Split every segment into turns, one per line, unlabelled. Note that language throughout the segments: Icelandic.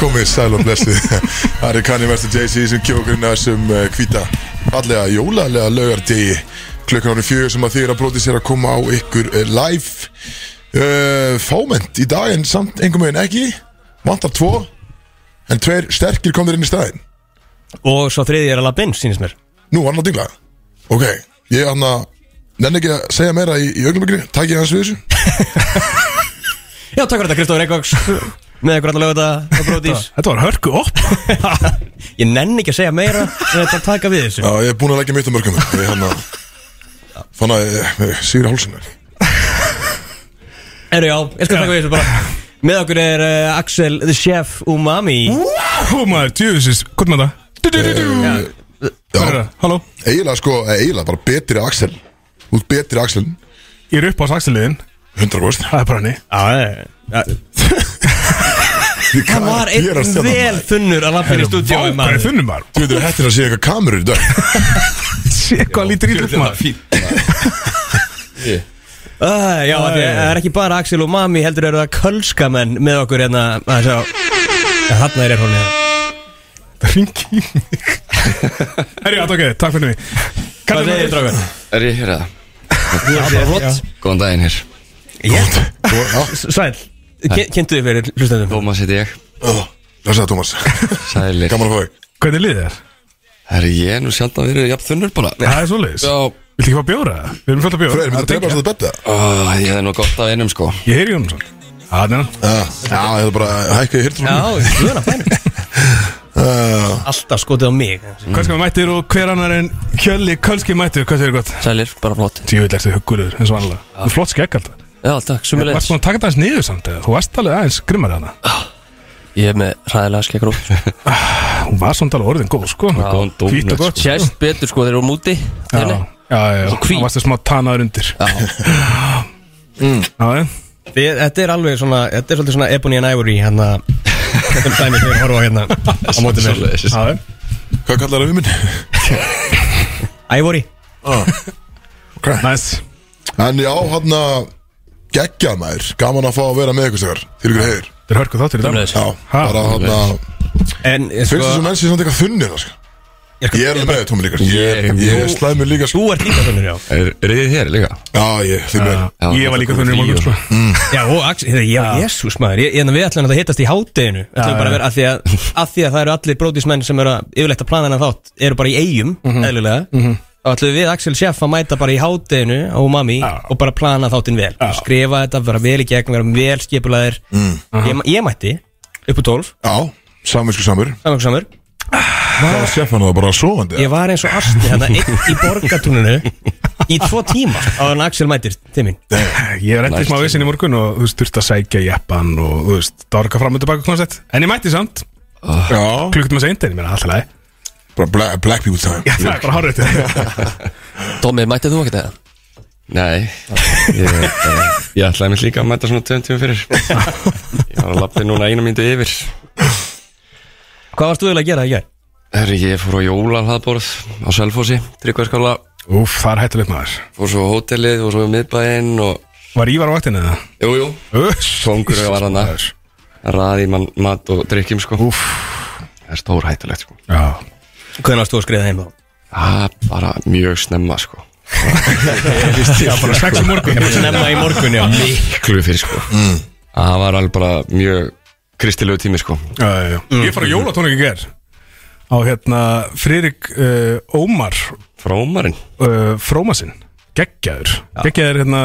komið sæl og blessið Það eru Kanye West og Jay-Z sem kjókurinn að sem hvita allega eh, jólalega laugardegi klukkan árið fjögur sem að þið eru að bróti sér að koma á ykkur eh, live uh, fáment í dag en samt einhver meginn ekki vantar tvo en tveir sterkir komður inn í staðinn
Og svo þriði er að labbinn, sínist mér
Nú, hann á dingla Ok, ég hann að nenni ekki að segja meira í, í augnablikinu Takk ég hans við þessu
Já, takk fyrir þetta, Kristóður Eikóks Með ykkur allavega þetta og bróðís
Þetta var hörku upp
Ég nenni ekki að segja meira en þetta taka við þessu
Já, ég er búinn að leggja mitt á mörgum Ég hann að Fann að eh, Sigur Hálsson
Eru já, ég skal taka við þessu bara Með okkur er uh, Axel the Chef Umami
Hú maður, djöfisins, hvort maður það?
Já,
Hvað er það? Halló?
eiginlega sko, eiginlega bara betri Axel Út betri Axel
Ég er upp á saksliðin
100%
Það er bara henni
Já, eh,
Hvað
Það var einn vel þunnur að labbinn í stúdíu
Hvað er þunnum maður?
hérna, Þú veitur hættin að sé eitthvað kamerur í dag
Sér hvað lítur í þútt maður
Uh, já, af því að það er ekki bara Axel og Mami heldur eru það kölskamenn með okkur hérna að sjá Þarna er hún hérna
Ringi Herri, allt ok, takk fyrir mig
Hvað segir þið draugur?
Er ég hér eða?
Já, bara flott
Góðan daginn hér
Ég-
Þú- já,
Sæl, Kyn- kynntu þið fyrir hlustendum
Tómas heiti ég
já, Það sagði Tómas
Sælir
Gaman að fá þig
Hvernig liðið þér?
Er ég er nú sjaldan verið jafn þunnur bara
Það er svoleiðis
Já
Viltu ekki fá bjóra? Við erum fullt af bjóra
Freyr, myndi að drepa þess að betta
Ó, Ah, Ég hefði nú gott af einum sko
Ég heyri Jónsson Það er hann
Já, já, ég hefði bara hækkaði hirtum
Já, hluna fænir
Eh,
Alltaf skotið á mig
Hvað skal maður mættir og hver annar en Kjölli Kölski mættur, hvað segir gott?
Sælir, bara flott
Djöfill ertu huggulegur, eins og annarlega Þú er flott skegg alltaf
Já, takk,
Þú varst
sumulegis
búin að taka þetta aðeins niður samt eða? Þú varst alveg aðeins grimmari hana
Ég er með hræðilega skekkur út
Hún var samt alveg orðin góð, sko
góðan dóm,
Hvít og gott
Sérst betur sko þeir eru á múti
Já,
hérna?
Þeirni
já, já, já.
Og hvít.
Hún varst að smá tanaður undir Já Já,
Þið- Þetta er alveg svona, þetta er svolítið svona Ebony and Ivory hérna Þetta er dæmi þegar horfa á hérna á móti mér
Sumulegis
já, já
Hvað kallar það við minn?
Ivory
Næs
En já, hann að Gekkja maður Gaman að fá að vera með ykkur þegar Til ykkur heyr
Þetta er hörkuð þáttur í dag
Sömuleiðis.
Já,
Ha,
bara hann að
En eh,
Finnst
sko,
þessu menn sér samt eitthvað þunnir það, sko.
Ég
Ég er alveg með Tómi líka sko.
Ég-
Ég ég er slæmur líka sko.
þú ert líka þunnur já
Er, er þið hér líka?
Já, ég, því mér
Já, Ég var líka þunnur í morgun, sko
Mm.
Já, og Axel, hérna, já, jésús maður ég, hérna, Við ætlum að hittast í hátteginu ja,
Já,
bara að
já.
vera, að, því að, að því að það eru allir brótismenn sem eru að, yfirleitt að plana hennar þátt eru bara í eigum, eðlilega Þá ætlum við Axel Sjeff að mæta bara í hátteginu á Mami
Já.
og bara plana þáttinn vel skrifa þetta, vera vel í gegn, vera vel skipulaðir ég, ég mætti upp á 12,
Já, saminsku samur
samansamur
Það var sjefan og bara sovandi
ég var eins og astni hérna einn í borgatúninu í tvo tíma á hann Axel mætir til mín
Ég er endið smá vissin í morgun og þú veist, þurfti að sækja jeppan og þú veist, dárka fram og tilbaka koncept En ég mætti samt,
Já,
klukkutum að segja indi, en ég meina alltaf leið
bara black, black people time
Já, það er bara hárið þetta
Tómi, mættið þú ekkert eða? Nei Ég, eh, ég ætlaði mér líka að mæta svona 20 fyrir Ég var að lappa núna einu myndu yfir
Hvað varst þú eiginlega að gera í gær?
Herri, ég fór á jóla hlaðborð á Selfossi, tryggvarskála
Úf, það er hættulegt maður
Fór svo á hótelið, fór svo í miðbæinn og
Var Ívar á vaktinu eða?
Jú, jú,
Uss,
Kóngur var hann að
maður.
raði mann mat og drikkjum sko Úf Það er stór hættulegt sko
Já
Hvernig varst þú að skriða heim þá?
Það er bara mjög snemma sko
Já, bara sex í morgun
Snemma í morgun, já
Miklu fyrir sko Það var alveg bara mjög kristilegu tími sko
Já, já, já. Ég fór á jólatónik í ger Á hérna, Fririk uh, Ómar
Frómarinn
uh, Frómasinn Geggjaður Geggjaður hérna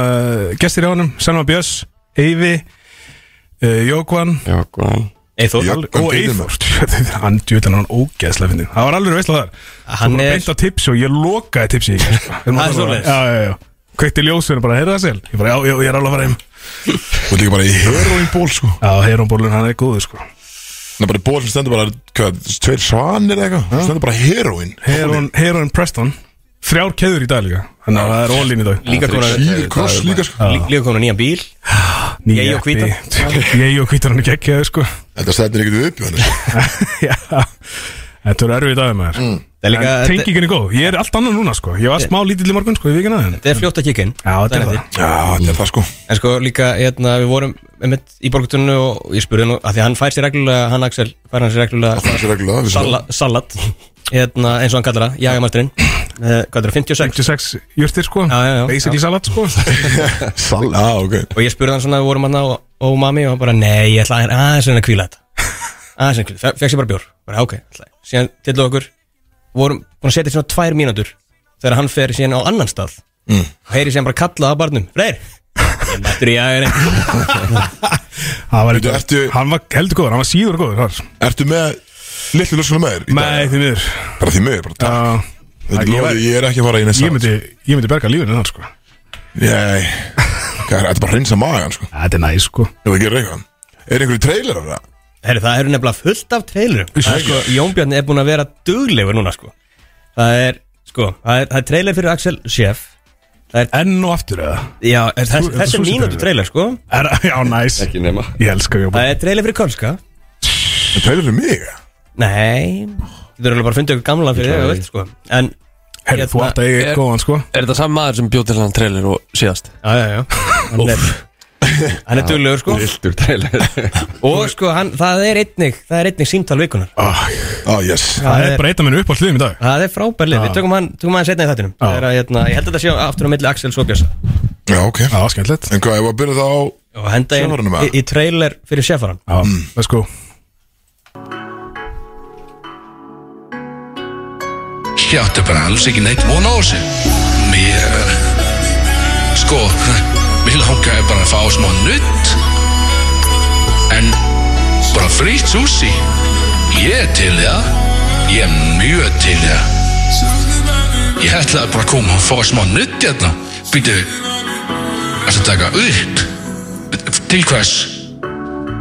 Gestir í honum Selma Björns Eyvi uh, Jókvan
Já, sko. góðan
Eithor
Já.
Og Eyþór Hann djúðan hann ógeðslega fyndin Það var alveg veistla þar
Hann er-
Beint á tipsi og ég lokaði tipsi í gær, sko.
Það
Þeir
er
voru bara-
svoleiðis.
Já, já, já Kveikti ljósinu bara Heyrðu það sel Ég bara, já, já, ég er alveg að fara heim
Og líka bara í heroin ból sko
Já, heyrumbólun hann er góður sko
Það er bara ból sem stendur bara hvað, Tveir svanir eða eitthvað Það stendur bara heroin
Heyrun, Heyrun Preston Þrjár keður í dag líka Þannig að það er ólín í dag
Líka konar
Íður kross líka sko
lí- Líka konar nýjan bíl
Nýja
Ég og
jeppi.
hvítan.
Ég og hvítan hann er geggjaður sko
Þetta stendur ekkert upp í hann sko.
Já, þetta eru erfið dagar maður
Þetta Það er Mm. líka,
En
þetta
tengingin er góð, ég er allt annað núna sko Ég var smá lítill í morgun sko, ég vikina það
þetta er fljótt að kikka inn
Já, þetta er
rétt.
það
Já, þetta er það sko
En sko líka, hérna, við vorum einmitt í borgutunnu og ég spurði nú að því að hann fær sér reglulega, hann Axel, fær hann sér reglulega
Það er reglulega við
sala, salat, hérna, eins og hann kallar það, jagamasturinn, uh, hvað er það, 56?
56 jurtir sko,
Já, já, já.
basically salat sko
sjáum. Sal, já, ok
Og ég spurði hann svona, við vorum hann á ómami og hann bara, nei, ég ætla að aðeins að kvíla þetta. Aðeins að kvíla, Fe- fekk sér bara bjór, bara ok, ætla. síðan til okkur, vorum búin að setja svona tvær mínútur þegar hann fer síðan á annan stað
Mm.
og heyri síðan bara kallað að barnum, freyr, ég mættur í jagarinn.
Það var
Veitu, ertu-
Hann var heldur góður, hann var síður góður þar.
Ertu með litlu lösuna með þér? í dag?
Nei, því miður
Bara því miður, bara takk
Já,
Þetta
Ég
er
var-
lofið, ég er ekki að fara í næsta
Ég myndi, ég myndi berga lífinu þar sko
Nei, hvað er þetta er bara að hreinsa magan sko
Þetta er næ sko
Ef það gerir eitthvað Er einhverju trailer af það?
Herru, það eru nefnilega fullt af trailerum Það er sko, Jónbjörn er búinn að vera duglegur núna sko Það er, sko, það er, það er trailer fyrir Axel Sjeff
Enn og aftur eða
Já, er, þess,
Þú-
þessi
þú-
mínútu trailer sko
er, Já, næs
Ekki nema
Ég elska Jópa
Það er trailer fyrir Kölska
Er trailer fyrir mig? eða?
Nei, þú eru bara að funda ykkur gamla fyrir þig, þú veist sko En,
Herri, þú
hérna-
átt að eiga
Er-
eitt góðan sko
Er þetta saman maður sem bjóð til hann trailer og síðast?
já, já, já Hann er, hann er duglegur sko
Viltur trailer
Og sko, hann, það er einnig, það er einnig símtal vikunar
Ah, yes
Það er bara eitt af minn upp á hliðum í dag
Það er frábær lið, við tökum hann, tökum hann setna í þættinum Það er að, hérna, ég held að þetta sé aftur á milli Axel Sobjasa
Já, ok
Já, skemmtilegt
En hvað, ef að byrja það á
Og henda inn
Sjefaranum,
í,
eða?
í trailer fyrir Sjefaran
Já, let's go
Ég átti bara alls ekki neitt vona á þessu Mér Sko Mér langaði bara að fá smá nutt En Bara frýtt sushi Ég er til í það Ég er mjög til í það Ég ætlaði bara að koma og fá smá nutt hérna Býtu Ætlaði að taka upp Til hvers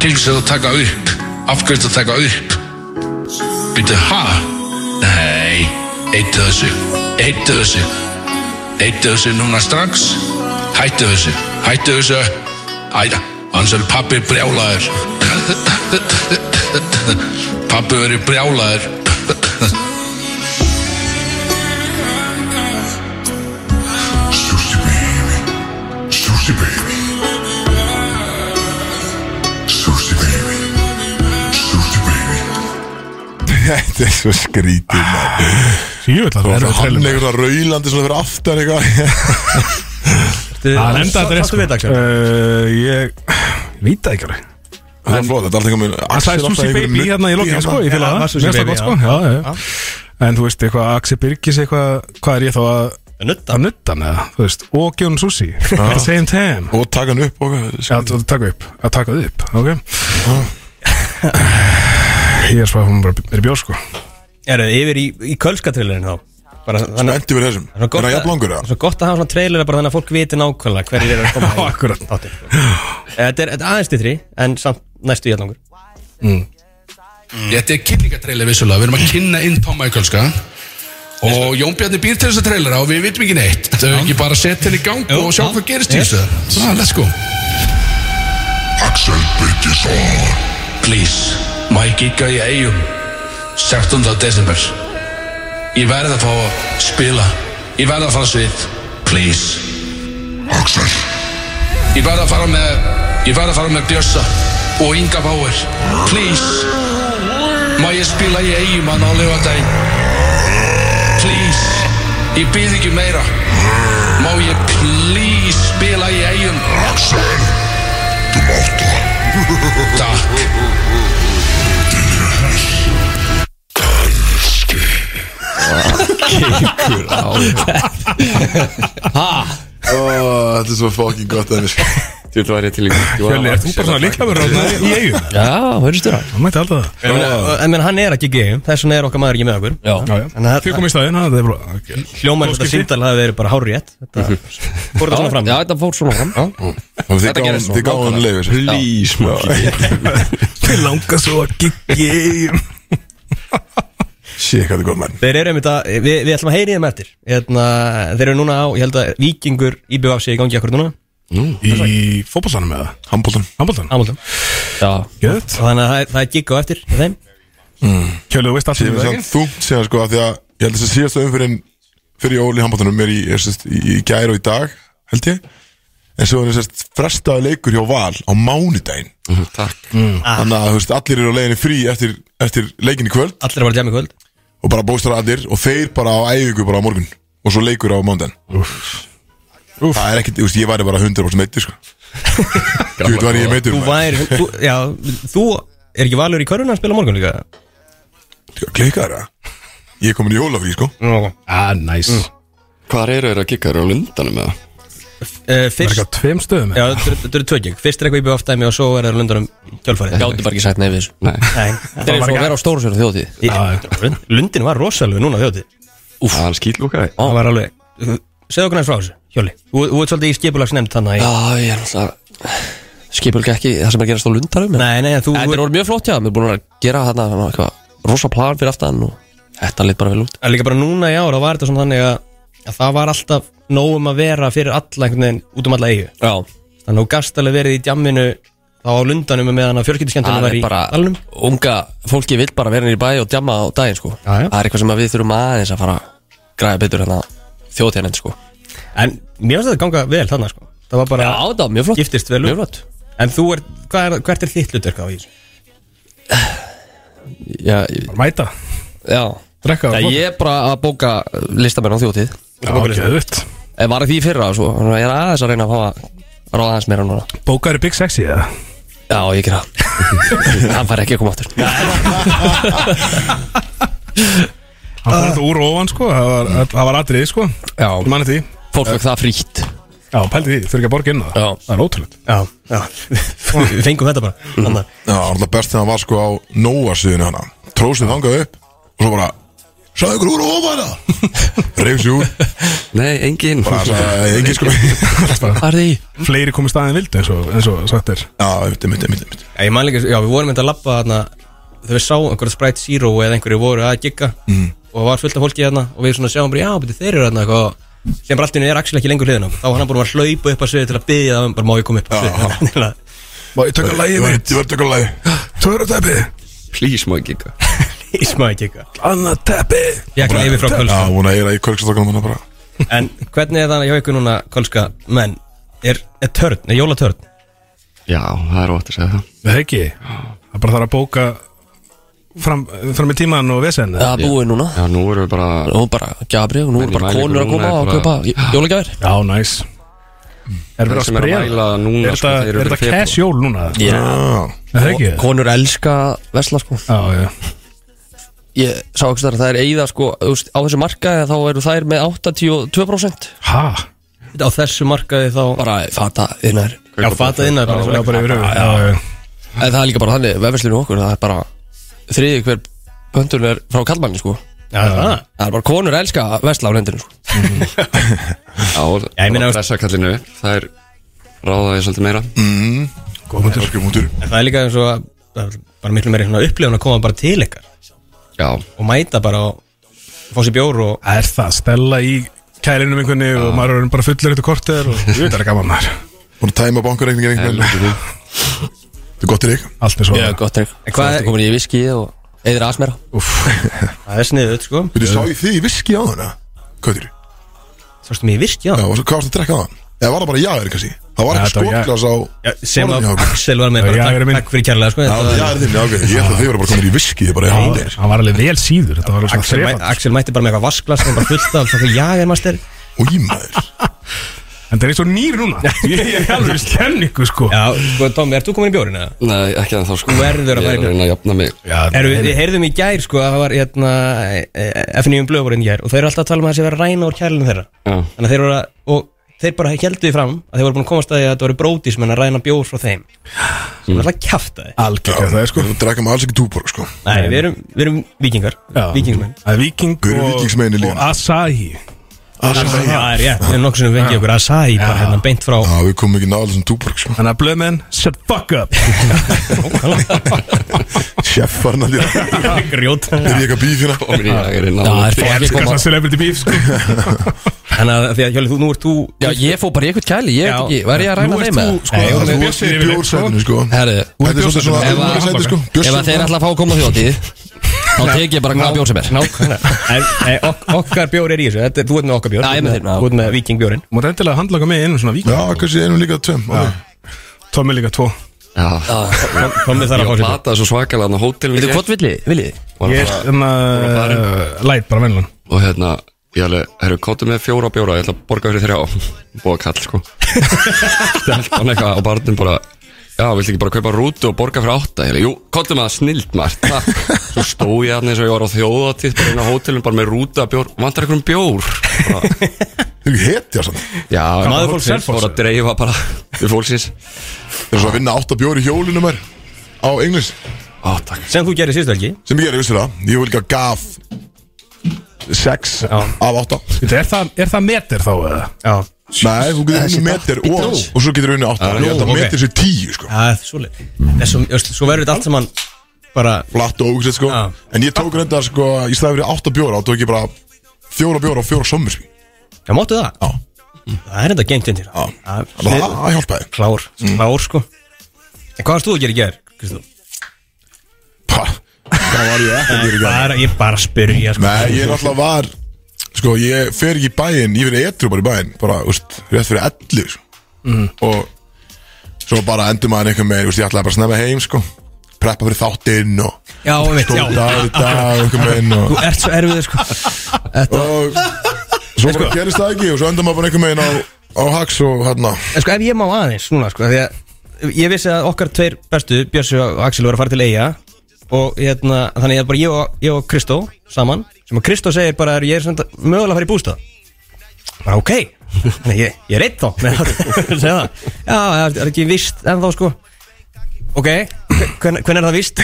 Til hvers að taka upp Af hverju ertu að taka upp Býtu ha Nei, eittu þessu Eittu þessu Eittu þessu núna strax Hættu þessu, hættu þessu Æ, hans er pappi brjálaður Pappi verið brjálaður
Sushi baby, sushi baby, sushi baby, sushi baby.
Þetta er svo skrítið maður.
Ég vil að það
Og
er
svo Hann
trailer
einhverja raulandi svona fyrir aftan eitthvað
Það nefndi að
Sáttu við
þetta
þetta,
er
Axel?
sko Ég veit það ekki alveg
Það er flott, þetta er alltaf einhvern veginn
Hann
Axel
sagði
alltaf
Susi
einhverjum
Baby
nudd
hérna í lokin
hana.
sko, ég
Já,
fylgja það
var Sushi
Mér finnst
Baby,
það gott, sko. já, já. En þú veist, eitthvað Axi Birgis eitthvað, hvað er ég þá að
Nutta
að nutta með það, þú veist, og Gjón Susi at the same time
Og taka hann upp og
Já, þú þú taka upp, að taka þið upp, ok Ég er svo að hún bara er í bjór sko
Er það yfir í, í kölskatrailerin þá? Bara, þannig,
Endi verið þessum
svo
Er
gott
hann
að-
jafn langur það?
svo gott að hafa svona trailera bara þannig að fólk viti nákvæmlega hverjir eru að koma
Já, akkurat.
þáttinn. Þetta er, þetta er aðeins til en samt næstu í allangur
Þetta er kynningatrailer vissulega Við erum að kynna inn Tom Michael ska Og Jón Bjarni býr til þess að trailera og við vitum ekki neitt Þau ekki bara setja henni í gang og sjá hvað gerist í þessu Ná, let's go
Axel Birgisson,
Please, má ég gigga í eigum 16. desember Ég verð að fá að spila Ég verð að fara á svið Please
Axel,
Ég verð að fara með Ég verð að fara með Bjössa og Inga Bauer Please Má ég spila í eigum að nálega daginn Please Ég býð ekki meira Má ég please spila í eigum
Axel, du mátt það.
Takk
Ó, Þetta er svo fucking gott að mér
Þú var ég til í
Fjölni, er þú bara svona líkla verið í eigum?
Já, verðist þú
Það mætti alltaf það
En, en menn, hann er ekki gegn, þess vegna er okkar maður ekki með okkur
Já,
Já, já.
Þannig að
Þau komið í staðinn, það er bara ok.
hljómaður þetta
Góðskipti.
síndal hafi verið bara hárétt Þetta fór þetta svona fram
Já, þetta fór svona fram
Og Þið
Þetta
gáðum-
gerist nú,
þið gáðum hann leifir Please
Mér langar svo að giggi í eigum
Shit, hvað þetta er gott mann
Þeir eru einmitt að, við, við ætlum að heyri þeim eftir Eðna, Þeir eru núna á, ég held að Víkingur IBF sé í gangi akkur núna
Í fótbolsanum eða?
Hamboltan
Hamboltan?
Hamilton.
Já,
Gjöðt
Og Þannig að það er, það er gigg á eftir hjá þeim.
Kjölið, þú veist allt
Ég
um
finnst
það
það
ekki?
þungt síðan sko af Því að Ég held þess að síðasta umfyrin fyrir jól í handbóttanum er í, er, sest, í, í gær og í dag held ég en svo er sest, frestaði leikur hjá Val á mánudaginn
Mhm, Takk
þannig að þú veist, allir eru á leiðinni frí eftir, eftir leikin í kvöld
Allir er bara að jamma í kvöld
og bara bóstar allir og þeir bara á æfingu bara á morgun og svo leikur á mánudaginn Það er ekkert, þú veist, ég væri bara 100% meittur sko Þú veit, var ég meittur
Þú væri, þú, já, þú er ekki valur í körfuna að spila á morgun líka
Kleikar það Ég er komin í jólafrí sko
Nó.
Ah, næs nice.
Hvar eru þeir að gigga? Eru á lundanum eða?
Eh,
Það er
Fyrst,
ekki á tveim stöðum
já, þetta eru- þetta eru tvögjöng Fyrst er eitthvað í bjóftæmi og svo er það lundanum kjálfarið
Gáttu bara ekki sagt nefnir þessu
Nei
Nei,
Það er eins og að vera á stóru sér þjóðtíð
ég, Lundin var rosalega núna þjóti
Úf Það er skýtlúkaði
Það var alveg Segðu okkur næst frá þessu, Hjóli Þú þú ert svolítið í skipulags nefnd þannig
Já, ég er náttúrulega Skipulga ekki það sem er að gerast á lundarum en-
Nei, nei, en þú
Þetta er orðið mjög flott, já Mér er búin að gera þarna þarna eitthvað Rosa plan fyrir aftan og Þetta leitt bara vel út
En líka bara núna í ára var þetta svona þannig að, að það var alltaf nógum að vera fyrir alla einhvern veginn út um alla eigu
Já
Þannig að þú gast alveg verið í djamminu þá á lundanum með meðan að fjörskiptiskendunum
Það
var
er
í
bara
dalnum
Unga fólki vill bara vera inn í bæ og djamma á daginn sko
Já, já.
Það er eitthvað sem að við þurfum aðeins að fara að Græða betur hérna þjóðtíðanend sko
En mér finnst þetta ganga vel þannig sko Það var bara
Já, það var mjög flott
giftist vel
Mjög
upp
flott
En þú er, hvað er, hvert er þitt hlutverk á því?
Já, ég-
Mæta,
já
drekka
Já, Ég er bara að bóka listamenn á þjóðtíð
Gjöðvitt
Ég var að því í fyrra svo þannig að Ég er aðeins að reyna að fá að ráða aðeins meira núna
Bókaður Big Sexy eða?
Já, ég gera það Hann fær ekki að koma aftur
Hann fór þetta úr og ofan sko Það var, það var atrið sko
Já
Ég manni því
Fólk fekk það frítt
Já, pældi því, þurfi ekki að borga inn á það
Já.
Það er ótrúlegt
Já, já Við fengum þetta bara Þannig að
Já, alltaf best þegar hann var sko á Nóa-sviðinu hana Trósið þangað upp og svo bara Sæði ykkur úr og ofan það Reif sér úr
Nei, engin
Bara sagði engin sko Já,
Hvað er því?
Fleiri komið staðin vildu eins og, eins og sagt er
mitt, mitt, mitt, mitt
Já, Ég man líka, já, við vorum þetta að labba þarna þegar við sáum einhverja Sprite Zero eða einhverju voru að gigga mm. og það var fullt af fólki þarna og við svona sjáum bara, já, beti, þeir eru þarna eitthvað sem bara allt í henni er Axel ekki lengur hliðin á okkur. þá var hann búin að hlaupa upp að sviði til að byggja það bara má ég koma upp að
Já.
sviði Þannig
Má ég taka
Ég
lægið
var
mitt?
ég var að taka lagi
Tvöra teppi
Please má ég gigga
að í smaði gigga
Annað teppi
Ég ekki yfir frá
Já,
Kölska
hún að eira í kvölkstokkanum hana bara
En hvernig er það hjá ykkur núna Kölska menn? Er, er törn, er jólatörn? Já,
Já, það er ótt að segja það
Það er ekki Það bara þarf að bóka fram, fram í tíman og vesen
Það er búið núna
Já, nú erum við bara
Nú er bara Gabri og nú
En
er
ég
bara
mæli ykkur
konur að koma
núna,
og
bara-
kaupa jólagjafir
Já, næs Er verið að
sem er að
spreja
mæla núna,
Er
sko, þeir
þetta-
eru
er
fyrir
þetta cash jól núna?
Já,
Er Það er ekki
Konur elska vesla sko
Já, já
Ég sá ekki þar að það er eigða sko þú veist, Á þessu markaði þá eru þær með 82%
Ha?
Á þessu markaði þá
Bara fata innar
Já, fatað inn að
Já,
bara
bara yfir yfir Já, já
En það er líka bara þannig Vefverslunum okkur Það er bara Þriði hver pöntun er frá kallmanni sko
Já, það.
Það er bara konur elska vesla á lendinu sko
Já,
Já, ég meina-
bara pressa kallinu upp. Það er ráðaði svolítið meira
góð mútur Góð mútur
En það er líka eins og að það er bara miklu meiri svona upplifun að koma bara til ykkar
Já,
og mæta bara og fá sér bjór og
Það er það, stella í kælinum einhvernig og maður er orðinn bara fullur eftir kortir og þetta er gaman maður
Búin að tæma bankareikningin einhvern veginn Þetta er gott í rík
Allt er svo
Já, gott trygg
En
Þú
hvað-
ertu komin í viski og eðir asmera
það er sniðut sko
Veitir, sá ég þig í viski á hana Kautur Já,
Þú varst mig í virki á
og svo hvað varst að drekka á hann? Eða var það bara jaðir kannski? Það var
Já,
ekki
þetta var jaðar.
skotglas á
sem að
borðinu hjá okkur.
Axel var með
Já,
bara
já, ég er
takk,
minn.
takk fyrir kærlega sko
Já,
Þetta var-
það er þinn, já, ok Ég held að þið voru bara komin í viski Þið bara, já,
Já, Hann var alveg vel síður, þetta var alveg svona
Axel, mæ,
þrefald
Axel mætti bara með eitthvað vasklas sem bara fullt af það já er master
Új, maður
En það er eins og nýr núna Ég er alveg stemningu sko
Já, sko Tommi, ert þú komin í bjórinu? eða?
nei, ekki en þá sko
Þú verður að fara í
Ég er að
bjórinn.
reyna að jafna mig
Erum við, við heyrðum í gær sko að það var hérna, FNÍum blöðvorinn um í gær og þeir eru alltaf að tala um að það sé verið að ræna úr kærlinu þeirra
Já.
þannig að þeir voru að, og þeir bara heldu því fram að þeir voru búin að komast að því að þetta voru brótis menn að ræna bjór frá þeim sem er alltaf kjafta því
Algjörlega það er sko
Við drekka maður alls ekki túbor, sko
Nei, við erum, við erum vikingar
Já.
Vikingsmenn
Það er viking
Hver er vikingsmeinið
og,
líka?
og Asahi
Já, það er rétt Við erum nokkuð sem við fengið okkur Asahi bara hérna beint frá
Já, við komum ekki náðlega sem túbor, sko
Þannig að blöðmenn, shut fuck up
Chef var hann allir Er
Grjót
ég eitthvað bífina?
Komin í að reyna
Já,
að
það er
Elskar
koma
það celebrity beef sko
Þannig að því að Hjóli, þú, nú ert þú
Já, ég fó bara í eitthvað kæli, ég
Já.
veit ekki, var ég að ræna
Nú ert
þeim
þú sko
eða?
Já, Þú
þú ert
varst í
yfirleitt, sko.
bjórsætinu, sko
Herðu,
Þetta er svolítið svona
Ef að-
umhverfisæti, sko
ef að þeir
Bjórsætinu
ætla að fá að koma á þjótið Þá tek ég bara hvaða bjór sem er
Nákvæmlega En- en ok- Okkar bjór er í þessu Þetta er, þú ert með okkar bjór
Já, ég er með þeim, já.
Þú ert með vikingbjórin
Mátt endilega handla okkar með einu svona vík
Já, kannski einum líka tveim ok.
Tommi líka tvo
Já,
Komið þar að fá sér
ég
hérna. bjór.
plataði svo svakalega hann á hótel
Veitu, hvort villið? Villið?
Ég er þannig að Læt bara venlan
og hérna ég alveg, herru, kóttu með fjóra bjóra ég ætla að borga fyrir þrjá búa kall sko stelt hann eitthvað og barnum bara já, viltu ekki bara kaupa rútu og borga fyrir átta ég alveg, jú, kóttu með það snild maður takk." svo stóð ég hann eins og ég var á þjóðatíð bara inn á hótelum, bara með rúta bjór vantar einhverjum bjór bara,
Þú er ekki hetja sann
já,
Maður fólksins.
fór að dreifa bara við fólksins
Þeir eru svo að vinna 8 bjóri hjólinu mér Á englis
á, takk
Sem þú gerir síðustu helgi
Sem ég er, vissi það Ég vil ekki að gaf 6 af 8
Veitu, er það, er það metir þá eh, eða?
Já
Nei, þú getur unni metir og, og svo getur unni 8 Ég held að
ok.
metir sér 10 sko
Það er svolít Svo verður þetta allt saman Bara
Flatt og ógæsett sko
Já.
En ég tók reynda sko Í staði fyrir 8 bjóra Þá tók ég bara 4 bjóra og 4 sommur sko
Já, máttu það
Já.
Það er þetta gengt inn til
Já.
Það
Það það hjálpaði
Klár Klár sko En hvað varst þú að gera í gerð, Kristó?
Pah, Það var ég ekki að gera í gær.
Bara, ég er bara að spyrja sko.
Nei, ég náttúrulega var Sko, ég fer ekki í bæinn Ég verið etru bara í bæinn Bara, úst, rétt fyrir 11 sko.
Mm.
Og svo bara endur maður einhver með úst, Ég ætlaði bara að snemma heim, sko Preppa fyrir þáttinn og
Já, ég veit,
Góð
já
dagur í dag, einhver með inn og,
Þú ert svo erfið sko Þetta,
og svo
sko-
bara gerist það ekki Og svo endur maður bara einhver með inn á, á Hax og hérna
En sko, ef ég má aðeins núna sko af Því að ég vissi að okkar tveir bestu Björnsu og Axel voru að fara til eiga Og hérna, þannig að bara ég og, ég og Kristó Saman, sem að Kristó segir bara "Eru Ég er svona mögulega að fara í bústað Bara, Ok, þannig að ég, ég er eitt þá með það, segja það. Já, það er ekki vist ennþá sko Ok, hvernig hven er það vist?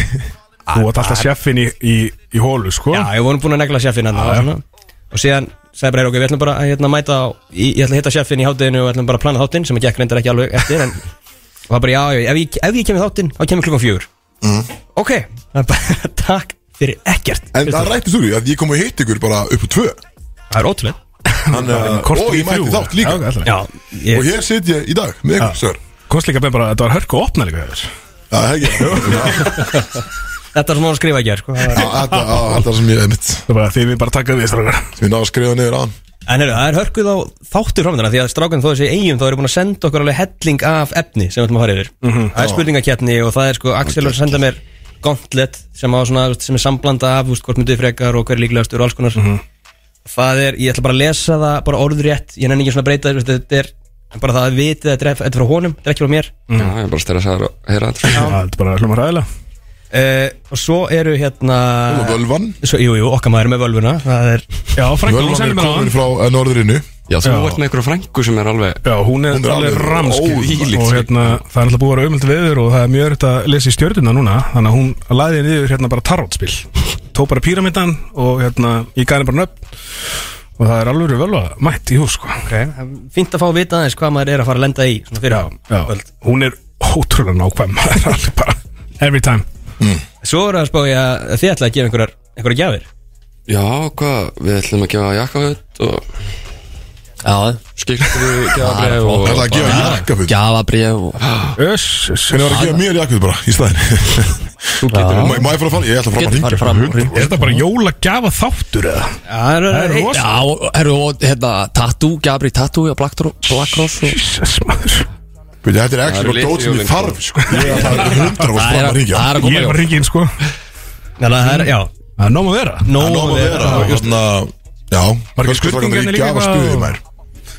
Þú átt alltaf sjeffin í, í, í hólu sko
Já, ég vorum búin að negla sjeffin hann og, svona. og síðan sagði bara, "Heyrðu, ok, við ætlum bara að hérna, mæta á, í- Ég ætla að hitta sjeffin í hátteginu og við ætlum bara að plana þáttinn sem ég gekk reyndar ekki alveg eftir en, Og það bara, já, já, ef ég, ef ég kemur þáttinn, þá kemur klukkan fjögur Ok, það er bara, takk fyrir ekkert
Mm. En það rættist úr því að ég kom og hitt ykkur bara upp á tvö
Það er ótrúlega
Þannig að- Og
Kortur Eh, í
ég mætti
þrjú.
þátt líka
Já, ok,
Já,
Og
ég,
hér sit ég í dag með ykkur, sör
Kost líka bara að þetta var hörku og opna líka þér
Já, það er ekki Já,
þetta er sem hún var að skrifa ekki sko. það var-
já, Þetta já, þetta er sem ég er mitt
Það er bara því við bara taka því strákar
sem ég náðu að skrifa niður á hann
En heyrðu, það er hörkuð á þáttur framöndana Því að strákan þó þessi eigum þá eru búin að senda okkur alveg helling af efni sem við ætlum að fara yfir Það er spurningakjarni og það er sko Axel er að senda mér gauntlet sem, á svona, þú veist, sem er samblanda af þú veist, hvort myndið frekar og hver er líklegastur og alls konar Það er, ég ætla bara að lesa það bara orðrétt, ég nenni ekki svona að breyta þér, þú veist, þetta er bara það að vitið að þetta er- þetta er frá honum, þetta er ekki frá mér
já, ég er bara stressaður að heyra þetta
Það er bara hljóma ræðilega
uh, Og svo eru hérna
Og völvan
svo, Jú, jú, okkar maður er með völvuna Það er,
Já, frænka, hún
Völvan er
sendir mér á
komin frá eh, norðrinu
já, þú ert með einhverju frængu sem er alveg
Já, hún er,
Hún er
alveg
alveg
ramski
óþvílíkt.
og hérna, það er alltaf búið að vera auðvöld veður og það er mjög örygt að lesa í stjörnuna núna þannig að hún laði niður hérna bara tarotspil tók bara píramítan og hérna ég gæði henni bara nöfn og það er alveg vel að mætt í hús sko. okay.
fínt að fá að vita aðeins hvað maður er að fara að lenda í svona fyrir
Já, já. hún er ótrúlega nákvæm maður er alveg bara every time
Svo voru að spá ég að að þið ætlaði að gefa einhverjar, einhverjar gjafir
já, hvað, við ætlum að gefa jakkaföt og
Já,
skiltu gefabrið
Það er
og
Það er að gefa jakkafut
gjafabrif og
Öss, öss,
Hvernig var að gefa mér jakkafut bara í staðin Þú getur Má má ég fara að fara? Ég ætla að
Getur
fara
farið
að
fram
ringa
Er þetta bara jólagjafa þáttur eða?
Það
er
er
rosa.
Já, og- herru, og hérna Tattoo, Gabri Tattoo á Black Dro- Black Cross og-
Jesus maður
Veit, Þetta er
Það
ekki
eru
bara dót sem
litjólin,
ég þarf sko. Ég er að fara hundra og
Það
fram
er
að
að-
ringja
það er að
Ég
koma
var
jól
ringin sko
Það er, já
Það er nóg að vera
Nó
Nóma vera og hérna Já
ekki
Hversku strákan er
spurningar
í
líka
gjafa
eitthvað
stuði
og-
mær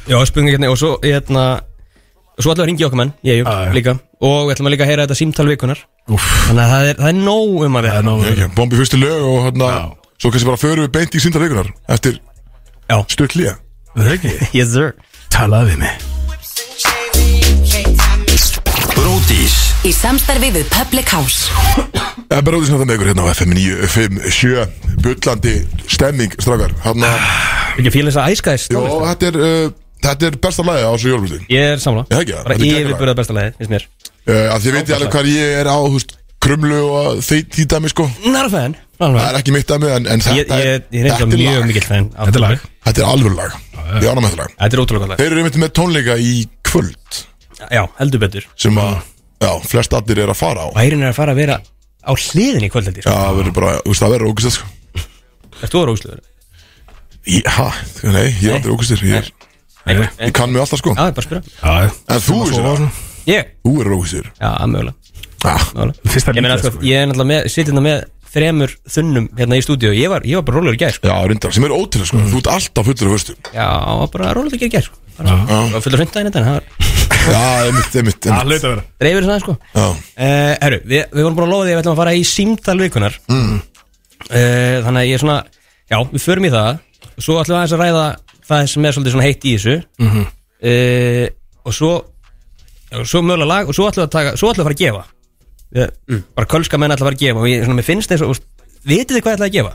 Já, spurninga hérna Og svo, hérna Og svo allavega ringi okkar menn Ég, jú,
Já, já.
líka Og við ætlum að líka að heyra þetta símtal vikunar Þannig að það er, það er nóg um að vera
Það er nóg að vera
Bombi fyrstu lög og hérna Svo kannski bara förum við beint í sindar vikunar Eftir
Já.
stutt lía
Það er ekki
Yes, sir
Talaði við mig
Bródís
Í samstarfi við Public House
Það er bara út í sindar með ykkur hérna á FM 957 Bullandi stemming strákar Hérna
Ah, Ekki fíla þess að æska þess
Jó,
tónlist.
þetta er uh, Þetta er besta lagi á þessu jólumsting
Ég er samla
Ég ekki, þetta
Bara
er geggjað lag.
yfirbyrða besta lagið, finnst mér
Uh, að þið veitir alveg hvað ég er á þú veist, krumlu og þeit því dæmi sko
Nara fæðan
það er ekki mitt dæmi en, en
Ég,
þetta
ég, ég er
þetta
eitthvað mjög
lag.
mikill fæðan
Þetta er lag
þetta er alveg lag ég ánum með þetta lag
Þetta er ótrúlega gott
þeir eru einmitt með tónleika í kvöld
lag Já, heldur betur
sem að já, flest allir er að fara á
Bærin er að fara að vera á hliðinni í kvöldeldi
Já,
sko.
það verður bara, þú veist, það verður ógustið sko
Ert þú að rósluður?
Ég- Ha, nei, ég er
Nei.
aldrei ógustir Ég, er-
Já,
ég kann mig alltaf sko
það er bara að spyrja
Já,
En þú,
svo var
Ísir,
svona
Ég?
þú er ógustir
Já, mögulega,
ah,
mögulega.
Fyrsta
Ég meina, sko,
lítið, sko.
ég er náttúrulega með, sitjum með þremur þunnum hérna í stúdíu Ég var, ég var bara rólegur í gær, sko
Já, reyndar, sem er ótrúlega sko Þú ert alltaf fullur af höstu
Já, var bara rólegur í gær, gær, sko Það var fullur hundaginn þetta, en það var
Já, einmitt, einmitt,
Það
einmitt.
hlaut að vera
dreifir þess aðeins, sko
Já,
Uh, herru, við, við vorum búin að lofa því að við ætlum að fara í símtal vikunar mm. Þannig að ég er svona Já, við förum í það Svo ætlum við aðeins að ræða það sem er svolítið svona heitt í þessu mm -hmm. Og svo og Svo mögulega lag og svo ætlum við að, taka, svo ætlum við að fara að gefa ég, Bara kölska menn ætlum að fara að gefa Og ég, svona, mér finnst eins og úst, Vitið þið hvað ætlum að gefa?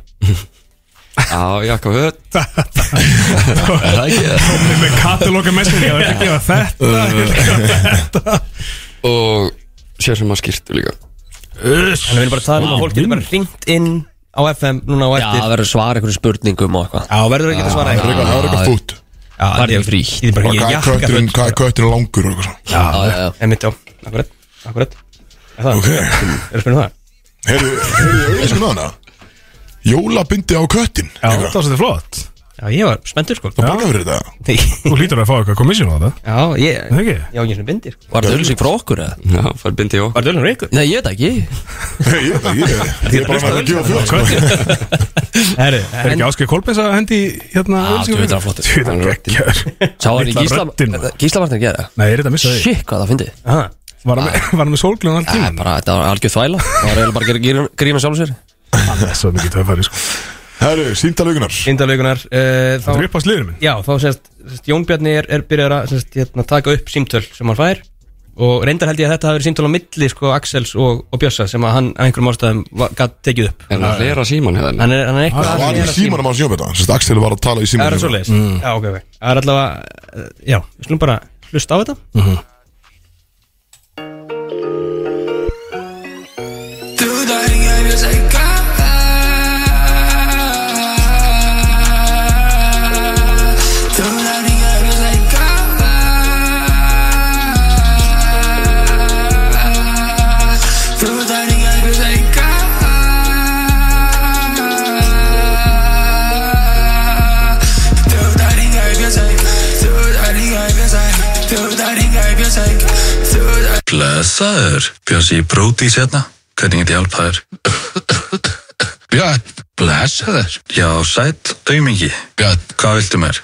Já, Jakob Höt Það er ekki það
Komið með katalóka messinni Það er ekki að þetta
Og sér sem maður skýrtu líka
Þannig að við erum bara að tala um að fólk getur bara ringt inn á FM núna á
Já, það
eftir
verður svar einhverju spurningum og eitthvað
Já, verður ekki að
það
svara
er eitthvað- það er eitthvað fút
Já,
það er
ég-
ekki frí.
Ég er bara
Og
ég
hvað er
jakka
kötturinn-
full.
Hvað er kötturinn langur og eitthvað svona
Já, já, já
Einmitt, já, akkurat, akkurat Er það,
Ok.
okay. er að spyrja um það?
Heyrðu, heyrðu, auðvitað með hana Jólabindi á köttin
Já, það var svolítið flott
Já, ég var spenntur sko
Það borga fyrir þetta
Nei,
Þú hlýtur að fá eitthvað komissjón á þetta
Já, ég,
Það ekki?
ég á ekki svona bindir sko.
Var þetta öllu sig frá okkur eða?
Já, fær bindi í okkur
Var dölun reykur?
Nei, ég veit það ekki
Ég ég- ég er bara með að gefa sko. fjóð
Herru,
Er ekki áskil Kolbins að hendi í, hérna
Já,
auglýsingu?
djöfull er hann flottur.
Djöfull er geggjör
Sá hann í
Litla
Gísla
röddin, maður.
Gísla Martin gerði það
Nei, er þetta að missa því?
Shit, hvað það fyndi
aha,
Var hann með- var hann með sólglun allt
Það er
tíma?
bara, þetta var algjör þvæla Það var eiginlega bara að gera gríma sjálf sér
Það er svo mikið töfari sko Þetta
Herru, síndalugunar
Sýndalögunar uh, þá,
er upp á sliðinu minn
Já, þá sést, sést Jón Bjarni er, er byrjar að sést, hérna, taka upp símtöl sem hann fær og reyndar held ég að þetta hafi verið símtöl á milli sko Axels og, og Bjössa sem að hann að einhverjum ástæðum gætt tekið upp
En að hlera síman hérna
Hann er, hann er eitthvað
Það
hann
Ah, var Mm.
er
í
að síma-
símanum á sjónbeta Sérst, Axel var að tala í
Það er
símanum
svo leiðis Já, ok, ok Það er allavega, eh, já, við slum bara hlusta á þetta
Mm.
Þú dæring ég vil segja Þú dæring ég vil segja Þú dæring ég vil segja Þú dæring ég vil segja Þú dæring ég vil segja Þú dæring ég vil segja Þú dæring Blessaður, Bjössi Brótis hérna Hvernig get ég hjálpa þér? Björn Blessaður Já, sæll, aumingi Björn, hvað viltu mér?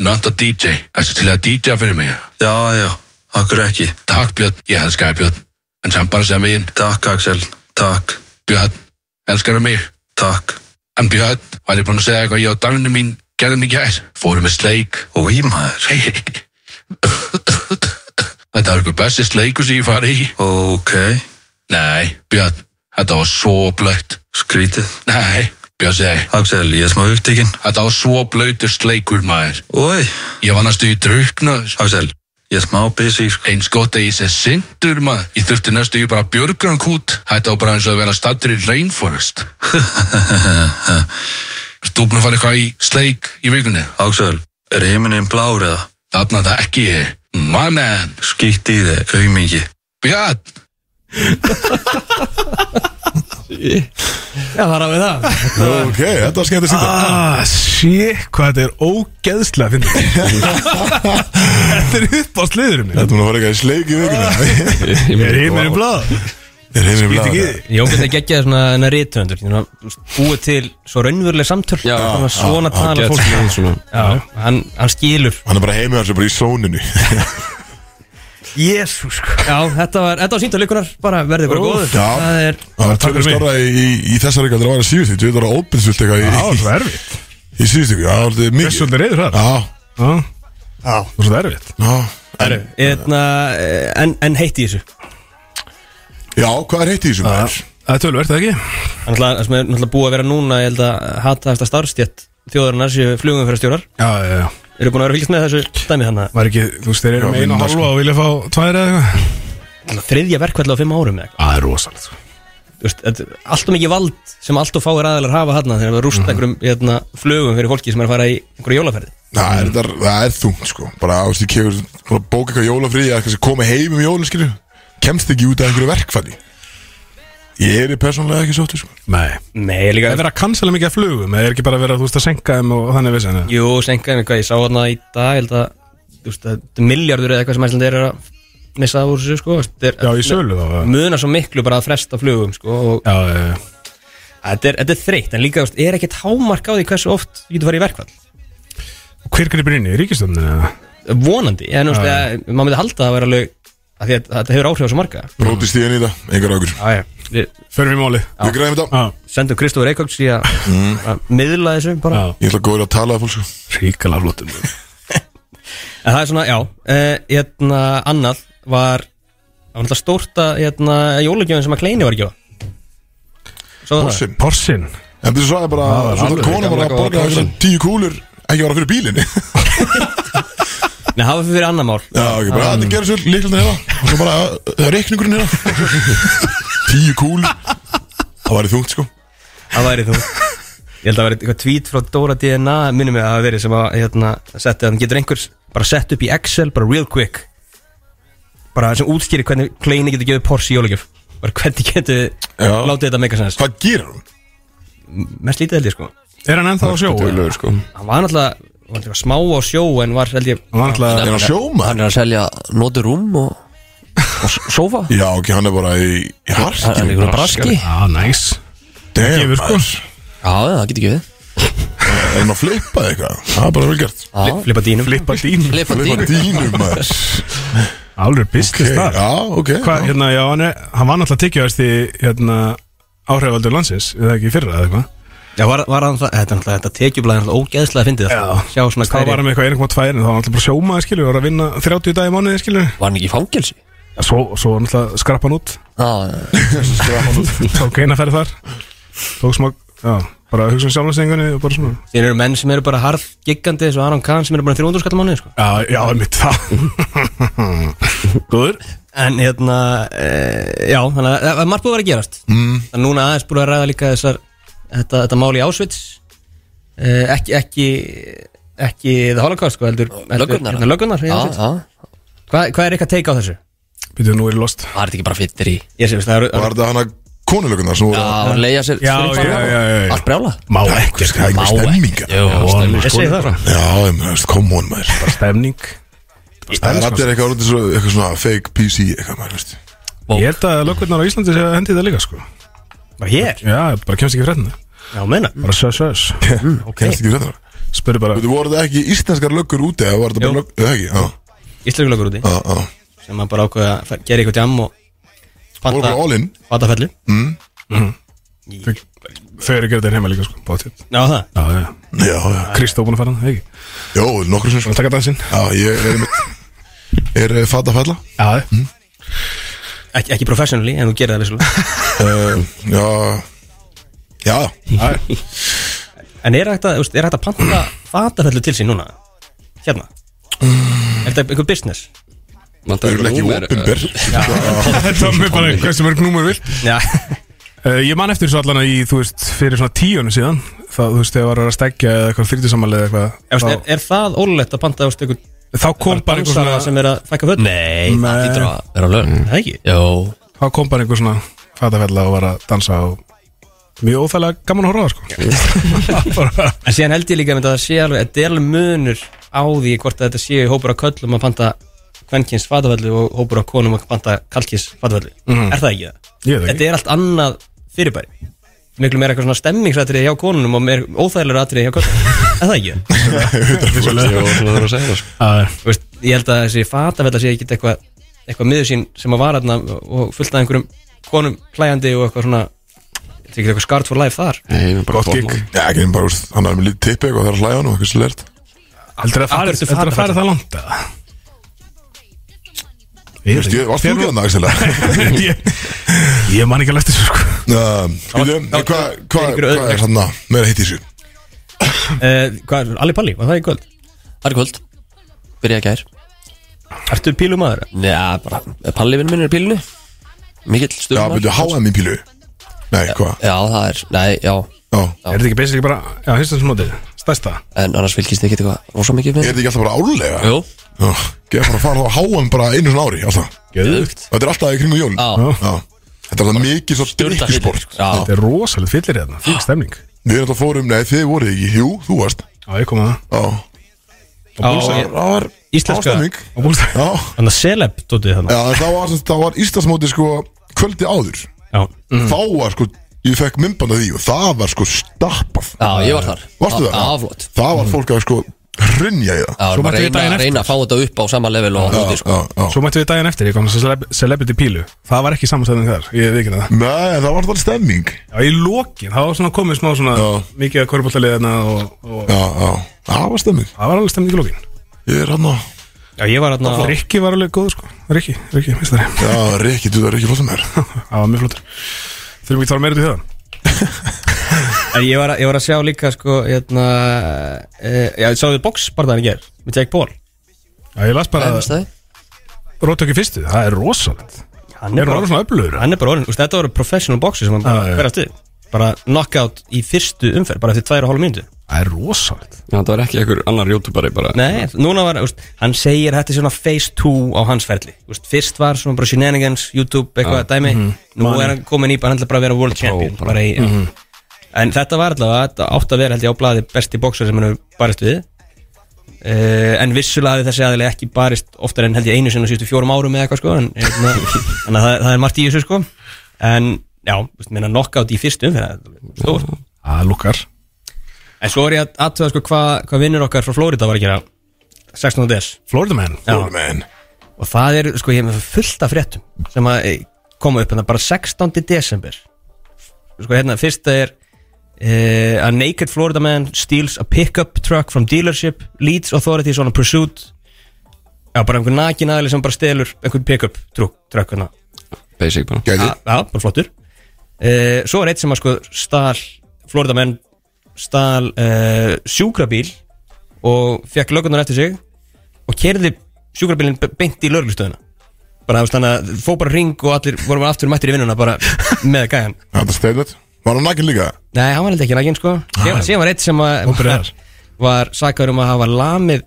Nanta DJ Þessi til að DJ fyrir mig Já, já, okkur ekki Takk Björn, ég elskar þig Björn En sem bara sem einn Takk Axel, takk Björn, elskar þú mig? Takk En Björn, var ég búinn að segja eitthvað ég og Danunni mín gerðum í gær? Fórum með sleik Og í maður Hei, Þetta var ykkur bestist leikur sem ég fari í. Ok. Nei, Björn, þetta var svo blöitt. Skrítið? Nei, Björn segi. Axel, ég er smá upptíkin. Þetta var svo blöytist leikur, maður. Oi. Ég var næstu í druknaður. Axel, ég er smá busy. Eins gott að ég sé sindur, maður. Ég þurfti næstu í bara björgrann kút. Þetta var bara eins og að vera stattur í Rainforest. Erst Þú búinn að fara eitthvað í sleik í vikunni? Axel, er heiminin blár eða? Þarna það ekki, mannen. Skýtt í þig, aumingi. Björn,
Já, það ráði það
Ok, þetta var skemmt að sínda
Ah, shit, hvað þetta er ógeðslega að finna Þetta er upp á sliðinu minn
Þetta mun að fara eitthvað í sleik í vikuna
Er heimurinn blað?
Er heimurinn
Skýt
blæða
ekki í
það?
þig.
Jón Björn er geggjað svona hennar rithöfundur svona, búið til svo raunveruleg samtöl
Já,
svona, svona tala
Gett
fólk
svona svona
já, hann, hann skilur
Hann er bara heimið hans er bara í sóninu
Jésús Já, þetta var, þetta var sínt að likunar bara verðið bara
Úff,
góður
já.
Það er,
Það var
Takk
tölum
fyrir mig.
stóra í, í, í þessari gæti Það var að síðust Þú veit það var óbyrðsvöld
Já,
eitthvað í,
svo erfitt
í síðust ykkur Það var þetta
Það er
mikið
svolítið reyður það
Já,
Já Svo erfitt
já
er eitna, Hérna, eh, en, en heitt í þessu
Já, hvað er heitt í þessum maður?
Það er tölvert, eða ekki?
Hann ætla, það sem er náttúrulega búið að vera núna ég held að hata eftir starfstjætt þjóðarinnar séu flugumfærastjórar
Já, já, já
eru búin að vera að fylgjast með þessu dæmi þannig
Var ekki, þú veist, þeir
Já,
eru með einu
vinna,
og
sko.
halva og vilja fá tvær eða eitthvað
að þriðja verkvall á fimm árum eða eitthvað.
Það er rosalegt sko.
Þú veist, þetta er allt og mikið vald sem allt og fáir aðalar hafa hann þegar við rústa einhverjum hérna, flugum fyrir fólki sem er að fara í einhverju jólaferði
Það er, það er, það er þungt sko Bara ástu kefur bara að Bóka eitthvað jólafrí Eða eitthvað sem komi heim um jólin skilur Kemst ekki út af einhverju verkfalli Ég er persónlega ekki sáttur sko.
Nei
Nei, líka
Það er verið að cancela mikið af flugum eða er ekki bara verið að þú veist að senka þeim og þannig vissin
Jú, senkaði mig hvað, ég sá þarna í dag Ég held að, þú veist, þetta er miljardur eða eitthvað sem æslandir er að missa úr þessu, sko þetta er-
Já, í sölu þá eða?
Munar svo miklu bara að fresta flugum, sko og
Já, já, já.
þetta er, þetta er þreytt, en líka, þú veist, er ekkert hámark á því hversu oft þú getur farið í verkvall
Og Hver gripir inn í ríkistöndinu?
Vonandi, en þú veist, að maður myndi halda að það vera alveg að því að þetta hefur áhrif á svo marga
Brótist í enn í það, engar águr
Við
Förum í málið
Við græðum þetta
Já,
sendum Kristóður Eikóks í að
Mm.
að miðla þessu bara
já
Ég ætla að góða að tala að fólk sko.
Ríkala flottum
En það er svona, já eh, Hérna, annað var Það var alltaf stórt að hérna, jólugjöfin sem að Kleini var að gefa Svo það
Porsinn
Porsin
En þú sagði bara
var
Svo
alveg
það kona bara
gamla
að
góða
borga
Porsinn.
einhverjar tíu kúlur Ekki bara fyrir bílinni Já,
Nei, það var fyrir annað mál
ekki bara Það gerur sér líkildin hérna Og svo bara Það er reikningurinn hérna Tíu kúlur Það væri þungt sko
Það væri þú Ég held að það væri eitthvað tweet frá Dóra DNA Minnum ég að það hafi verið sem að hérna, setti að hann getur einhvers Bara sett upp í Excel, bara real quick Bara sem útskýri hvernig Kleini getur gefið Porsche í jólugjöf Bara hvernig getur
Já.
látið þetta meika sens
Hvað gerir hún?
Mest lítið held ég sko
Er hann ennþá á sjó? eða?
Dölur sko
Hann var náttúrulega, hann var náttúrulega smá á sjó En var held ég
Hann var alltaf
Er hann sjóma?
Hann er að selja notur rúm og, og sofa
Já, ok, hann er bara í, í
Hann er
harkinu
einhverjum braski Já,
Já, næs
Damn,
Gefur sko
maður.
það getur ekki við
er hann að flippa eða eitthvað? Það er bara vel gert
Já.
Flippa dínum
Flippa dín
Flippa
Flippa
dýr
dýnum maður
Alveg business
Ok,
þar
Já, ok
Hvað,
já.
hérna, já, hann, er, hann var náttúrulega tekjuðast í hérna, áhrifaldur landsins, eða ekki í fyrra eða eitthvað
Já, var, var hann það, þetta, er náttúrulega- þetta tekjublaði er náttúrulega ógeðslega að fyndi það
Já.
Sjá svona
Hvað var hann
hverju
með eitthvað 1,2 en þá var hann alltaf bara sjómaði skilur og var að vinna 30 dag í mánuði skilur
Var hann ekki í fangelsi?
Svo, svo var náttúrulega skrappan út
Já, já.
Tók eina ferð þar Tók smá, já, bara hugsa um sjálfnæsningunni og bara svona
Þeir eru menn sem eru bara harð giggandi eins og Aron Kahn sem eru bara 300 skall mánuði sko.
Já, já, mitt það Góður
En hérna, e, já, þannig að það er margt búið að vera að gerast mm. Þannig að núna aðeins búið að ræða líka þessar Þetta, þetta mál í Ásvits e, ekki, ekki, ekki The Holocaust sko, heldur heldur-
Löggurnar?
hérna, Löggurnar í
Já,
Auschwitz.
já.
Hvað hvað er eitthvað teika á þessu?
Býtum nú er ég lost
Var þetta ekki bara fyttir í
Ég sé, veist, það eru
Var þetta hann að konulökunar sem voru
Já,
að
hann leiða sér
Já,
strippa
já,
og-
já, já, já.
Allt brjála
Má ekki
Það er einhver stemminga
Jú,
stemning,
Ég segi það bara
Já, ég meina, veist, kom hún maður
stemning
Það er allir eitthvað orðið svo, eitthvað svona fake PC eitthvað maður, veist
Ég held að löggurnar á Íslandi sé að hendi það líka sko
Bara hér?
Já, bara kemst ekki fréttina
Já, meina
Bara sös, sös
okay. Kennst ekki þetta
Spurðu bara
Þú voru það ekki íslenskar löggur úti eða var þetta bara
Jú.
löggur, eða ekki? Já,
Íslaugur lögur úti
já, já
sem maður bara ákveði að fer- gera eitthvað jam og
Voru bara all in
panta fellu
Þau eru að gera þetta heima líka sko Bátið
Já það,
Já, já
Já, já
Kristó búin að fara hann, ekki?
Jó, nokkru sem
Búin
svona
að taka dansinn
Já, ég er einmitt Er eh, fata falla?
Já, mm.
ekki, ekki professionally en þú gerir það vissulega
Uh, já Já,
En er hægt að, þú veist, er hægt að panta fatafellu til sín núna? Hérna Er þetta einhver business?
það
Vantar
eru ekki
númer,
opinber
þetta var mér bara hversu mörg númur vilt
Já,
uh, Ég man eftir svo allan að í, þú veist, fyrir svona tíunum síðan Þá, þú veist, þegar var að stegja eða eitthvað þrítisamalið eða
er, er,
eitthvað
er það ólulegt að panta þú veist, einhver
þá, þá kom bara einhver
dansara
svona
sem er að fækka fötum?
Nei, það
Nei.
hlýtur að vera lögn
Það ekki?
Jó,
Þá kom bara einhver svona fatafella og var að dansa og Mjög óþægilega gaman að horfa á það, sko Bara-
En síðan held ég líka að það sé alveg að del munur á því hvort að þetta séu hópur af köllum að panta kvenkins fatafellu og hópur af konum að panta kalkins fatafellu Er það ekki það?
Mhm. Ég veit
þetta
ekki
er allt annað fyrirbæri miklu meira eitthvað svona stemmingsrættrið hjá konunum og meir óþægilega rættrið hjá konunum en það ekki
Jó, svona þarf að segja það sko
Já,
Þú veist, ég held að þessi fatafella sé ekki eitthvað eitthvað miður sín sem að vara þarna og fullt af einhverjum konum hlæjandi og eitthvað svona þetta er ekki eitthvað skart for life þar
Nei, ég er bara
Gott gig Já, ekki bara, úst, hann er með lítið tippi eitthvað Það er að hlæja hann og eitthvað slert
Heldur
Akkur
að fara
ertu
heldur að fara
fatafella?
það langt eða? Ég
Þú
veit ekki
veist, varst þú ekki hann, Axel?
Ég- Ég man ekki alveg eftir þessu, sko
Um, Viljum,
þá-
en hvað hva,
fyrir
hva
einhverju
er hann að meira hitt í þessu?
uh, hvað, er- Ali Palli, var það í kvöld?
það er kvöld Byrja að gær
Ertu pílum aður?
Já, bara Pallivinn minn er í pílunni Mikill
Já,
stjórnum
byrju, háa í pílu Nei, hvað?
Já, það er, nei, já
Já.
Er þetta ekki basically bara, já, hérstu þessu mótið Stærsta
En annars fylgist ekki eitthvað rosa mikið
Er
með
þetta ekki alltaf bara árlega?
Jú,
Já, Ég er bara að fara þá að háa bara einu svona ári alltaf.
Gjöðugt
Þetta er alltaf í kringum jól
Já.
Já. Þetta var það mikið svo
Stjórna
drikkjusport
fyrir, já.
Þetta er rosalega fyllir hérna,
Ah.
fyrir stemning
Við erum þetta fórum, nei þið voruð ekki, jú, þú varst
Já, ég kom að það
Já,
Á,
það var
íslenska
ástæðning
Á búlstæð
Já,
Þannig að celeb dótið þannig
já það var, sem sagt- það var Íslandsmóti sko kvöldi áður
Já,
Mm.
Þá var sko, ég fekk mymband af því og það var sko stappað
Já, ég var þar
Varstu það?
Já, já, flott
Það var fólk að sko hrunja í það
Já,
Svo
bara
mættum við
reyna,
daginn eftir.
reyna að fá þetta upp á sama level og úti sko.
Já, já
Svo mættum við daginn eftir, ég kom að celeb celebrity pílu Það var ekki samanstæðin þar, ég veit ekki það
Nei, það var það stemming
Já, í lokin, það var svona komið smá svona
Já.
mikið að korfbóltaliðina og, og
Já, já, það var stemming
það var alveg stemning í lokin
Ég er hann á
já ég var hérna
Rikki var alveg góð, sko Rikki, Rikki, veist það
Já, Rikki, þú það er ekki flott sem er
Það var mjög flottur Þurfum ekki að tala meira út í það
En ég var, að- ég var að sjá líka sko hérna, e, Já, ég sáðu boxbarðan í ger Með Jake Paul
Já, ég las bara
Það veist það?
Róttöki fyrstu, það er rosalegt
Hann
Er
er
hún
bara,
alveg svona öflugur?
hann er bara orðin, úst, Þetta voru professional boxi sem hann
Já,
bara
já.
verðast við Bara knockout í fyrstu umferð Bara eftir tvær og hálf mínútu
Það er rosalegt
Já, það var ekki einhver annar youtuberi bara
Nei, núna var, úst, hann segir að þetta er svona phase 2 á hans ferli úst, Fyrst var svona bara shenanigans, YouTube, eitthvað dæmi Nú er hann komin í, bara hann ætlar bara að vera world champion
bara.
mhm, bara mhm. í, En þetta var allavega, þetta átt að vera held ég á blaði besti bóksar sem hann hefur barist við uh, En vissulega hafði þessi aðilega ekki barist oftar en held ég einu sinna síðustu fjórum árum eða eitthvað sko En, hérna, en að það, það er margt í þessu sko En já, úst, minna knockout í fyrstum, það er stórt
Það lukkar
En svo er ég að aðtöða sko hvað hva vinnur okkar frá Flórida var að gera 16. des
Florida man
Já.
Man
og það er sko ég er með fullt af fréttum sem að eh, koma upp en það bara 16. desember sko hérna fyrsta er uh, a naked Florida man steals a pickup truck from dealership leads authorities on a pursuit já bara einhver nakin aðli sem bara stelur einhver pickup truck, truck hérna.
Basic bara
Gæði
já, já, bara flottur uh, svo er eitt sem að sko stal Florida man stal uh, sjúkrabíl og fekk lögunar eftir sig og kerði sjúkrabílinn be- beint í löglustöðuna bara þú veist þannig að fó bara ring og allir vorum aftur mættir í vinnuna bara með gæjan
Þetta steinat Var hann nakin líka?
nei, hann var held ekki næginn sko síðan síðan var eitt sem að var, var sakar um að hafa lamið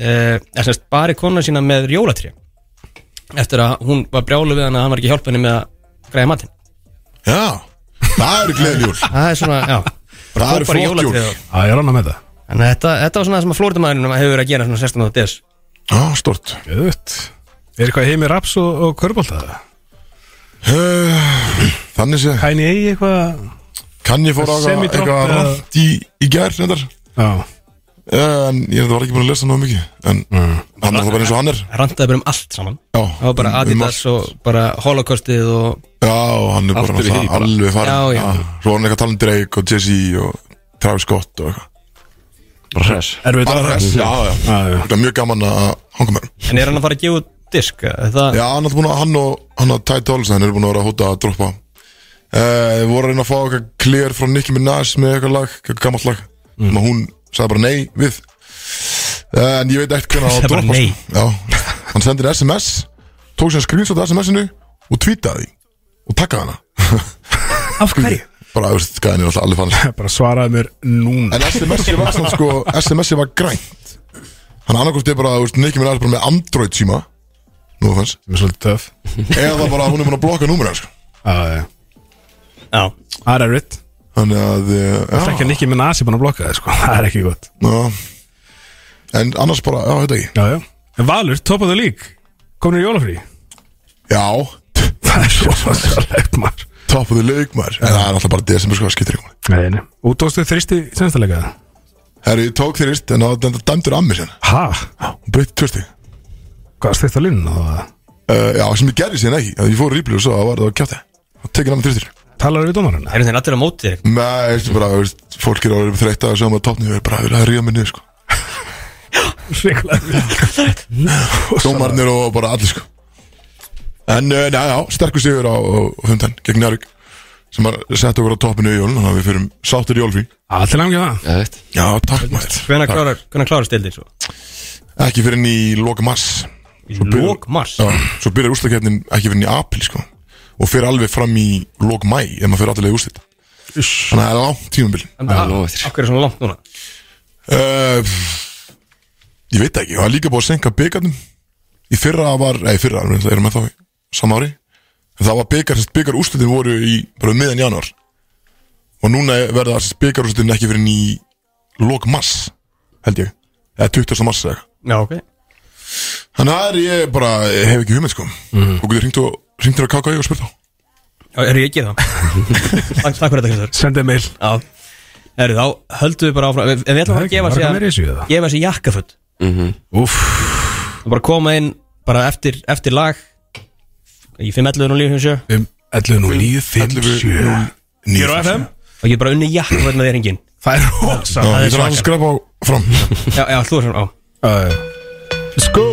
uh, bari konan sína með jólatrí eftir að hún var brjálu við hann að hann var ekki hjálp henni með að græja matinn
Já Það eru gleðjúl
það er svona, já
Það eru
Hópar í
flott jól
jólatréð.
Já, ég er annað með það
Þannig að þetta, þetta var svona það sem að flóritamæðurinn hefur verið að gera svona 16. des
Já, stort
Gjöðvögt Er eitthvað heimi raps og, og körbólta?
Eh, Þannig sé
Kæni eigi eitthvað
Kann ég fóra á
Semi-drop
eitthvað
eða-
rátt í, í gær reyndar
Já
En ég reyndar var ekki búin að lesa náðu mikið En hann er það bara eins og hann er
Randaði bara um allt saman
Já,
Mm. Það var bara
um- um
Adidas og bara holocaustið og
Já, og hann er bara
Aftur í því
náttúrulega
bara.
alveg farin
Já, já.
Svo var hann eitthvað að tala um Drake og Jay-Z og Travis Scott og eitthvað
Bara hress
Erum við það?
Alveg, Já, já,
Já, já.
Það er mjög gaman að hanga með hann
En er hann að fara að gefa út disk? eða Það,
Já, hann er búin að hann og hann og Ty Dollson er búin að vera að hóta að droppa uh, voru að reyna að fá eitthvað clear frá Nicki Minaj með eitthvað lag, eitthvað gammalt lag mm. og hún sagði bara nei við uh, en ég veit ekkert hvernig á að
Sagði bara
droppa
nei.
sko. Já, hann sendir SMS tók sér skrýnsótt af SMS-inu og tweetaði því og takkaði hana
Af hverju?
bara, þú veist, gæðin er alltaf alveg fannst
Bara svaraði mér núna
En SMS-i var samt sko SMS-i var grænt Hann annarkoft er bara, þú veist, Nicki Minaj er bara með Android síma Nú fanns
Sem er svolítið töf
Eða bara hún er búin að blokka númur sko.
Já, já
já,
Það er erfitt
Þannig að eh,
Það er ekki að Nicky Minaj er búin að blokka það, sko Það er ekki gott
já, En annars bara, já, þetta ekki
Já, já En Valur, topaðu lík Komnir í jólafrí
Já,
Það er svo svolítið maður
top of the league maður En það er alltaf bara desember sko, skiptir ykkur
Nei, nei Útóðstu þristi senstalega
Herri, ég tók þér íst en það dæmdur dæmdur að mér sérna
Ha?
Hún breyti tvösti uh,
Hvað styrst á línun og það?
Eh, Já, sem ég gerði sérna ekki að Ég fór rýplið og svo að var það að kjáta Og tekið námið þrýstir
Talar við dómarinn?
er hann allir á móti þér?
Nei, veistu bara, þú veist, fólk er orðið þreytt að sjá maður topnið Við erum bara að vilja að ríða minni, sko
Svikulega
Dómarnir og bara allir sko En uh, neða, já, sterkur sigur á, á hundan gegn Njárvík sem að setja okkur á toppinu í jólun þannig að við fyrir sáttur í jólfí
Allt er langið það
Já, veit
Já, takk maður
Hvenær klárar, hvenær klárar stildir svo?
Ekki fyrir henni í loka mars
Í
byrjar-
lók mars?
Já, svo byrjar úrstakefnin ekki fyrir henni í apil sko og fyrir alveg fram í lok mæ ef maður fyrir allavega úrslit Þannig að það er langt tímabil
En það-
Já, nú
Af
eftir.
hverju er svona langt núna?
uh, pff, Ég veit ekki, það er líka búið að senka byggarnum Í fyrra var, nei, í fyrra, erum við erum ennþá í sama ári En það var byggar, byggar úrslutin voru í bara um miðan januar Og núna verða byggar úrslutin ekki fyrir ný Lok mars, held ég Eða 20. mars eða eitthvað.
Já, ok
Þannig að það er ég bara, ég hef ekki hugmynd sko Og getur hringt og hringt þér að kaka ég og spurt á
Já, eru ég ekki þá? Takk takk fyrir þetta, Kristur
Sendið mail
Já Eru þá, höldum við bara áfram Við, við ætlum
Það
bara
er
að
ekki
gefa
margar meira í þessu,
sér
eða?
Gefa sér jakkaföld
Úff
Og bara koma inn Bara eftir, eftir lag Í 5.11 og lífum sjö
Um 11 nú 9, 5, 7 Hér á FM
Og ég get bara unni jakkaföld með þér hengin
Það er rosa
Já, ég þarf að skrapa á fram
Já, já, þú er svona á
Já, já. Sko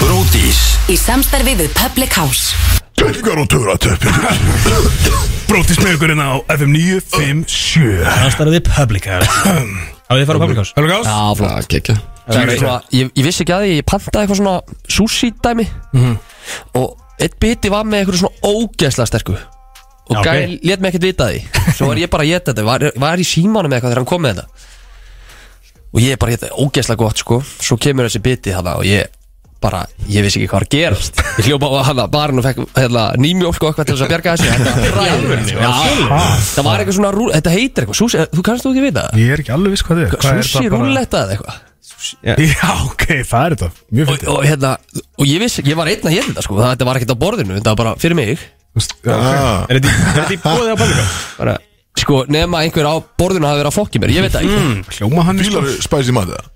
Bródís
Í samstarfi við Public House
Peningar og töfratöp
Brótist með ykkurinn á FM 9, 5, 7
Það starfið Public House Hafið þið farið á Public House?
Helga Ás
Já, flott
Það kekja
Ég, er svona, ég, ég vissi ekki að því, ég pantaði eitthvað svona sushi dæmi og eitt biti var með eitthvað svona ógeðslega sterku og
Já, ok.
gæl okay. let mig ekkert vita því svo var ég bara að geta þetta, var, var í símanum með eitthvað þegar hann kom með þetta og ég bara geta ógeðslega gott sko svo kemur þessi biti hana og ég bara, ég vissi ekki hvað var að gerast ég hljópa á hana barinn og fekk hérna, nýmjólk og eitthvað til þess að bjarga þessi sko. það var eitthvað svona rú- þetta heitir eitthvað, sushi, þú kannst þú ekki vita það?
Ég er ekki alveg viss hvað þið er Hvað er
sushi
það bara-
rúlletta eða eitthvað
Já, ok, það er þetta Mjög
og,
fyrir
og hérna, og ég vissi, ég var einn að hérna sko, það þetta var ekkert á borðinu, þetta var bara fyrir mig
ah,
Er þetta í- er þetta í bóðið á Public House?
bara, sko, nema einhver á borðinu hafi verið að fokki mér, ég veit það ekki
Mm. Hljóma hann sko.
Fílar spæsi mat eða?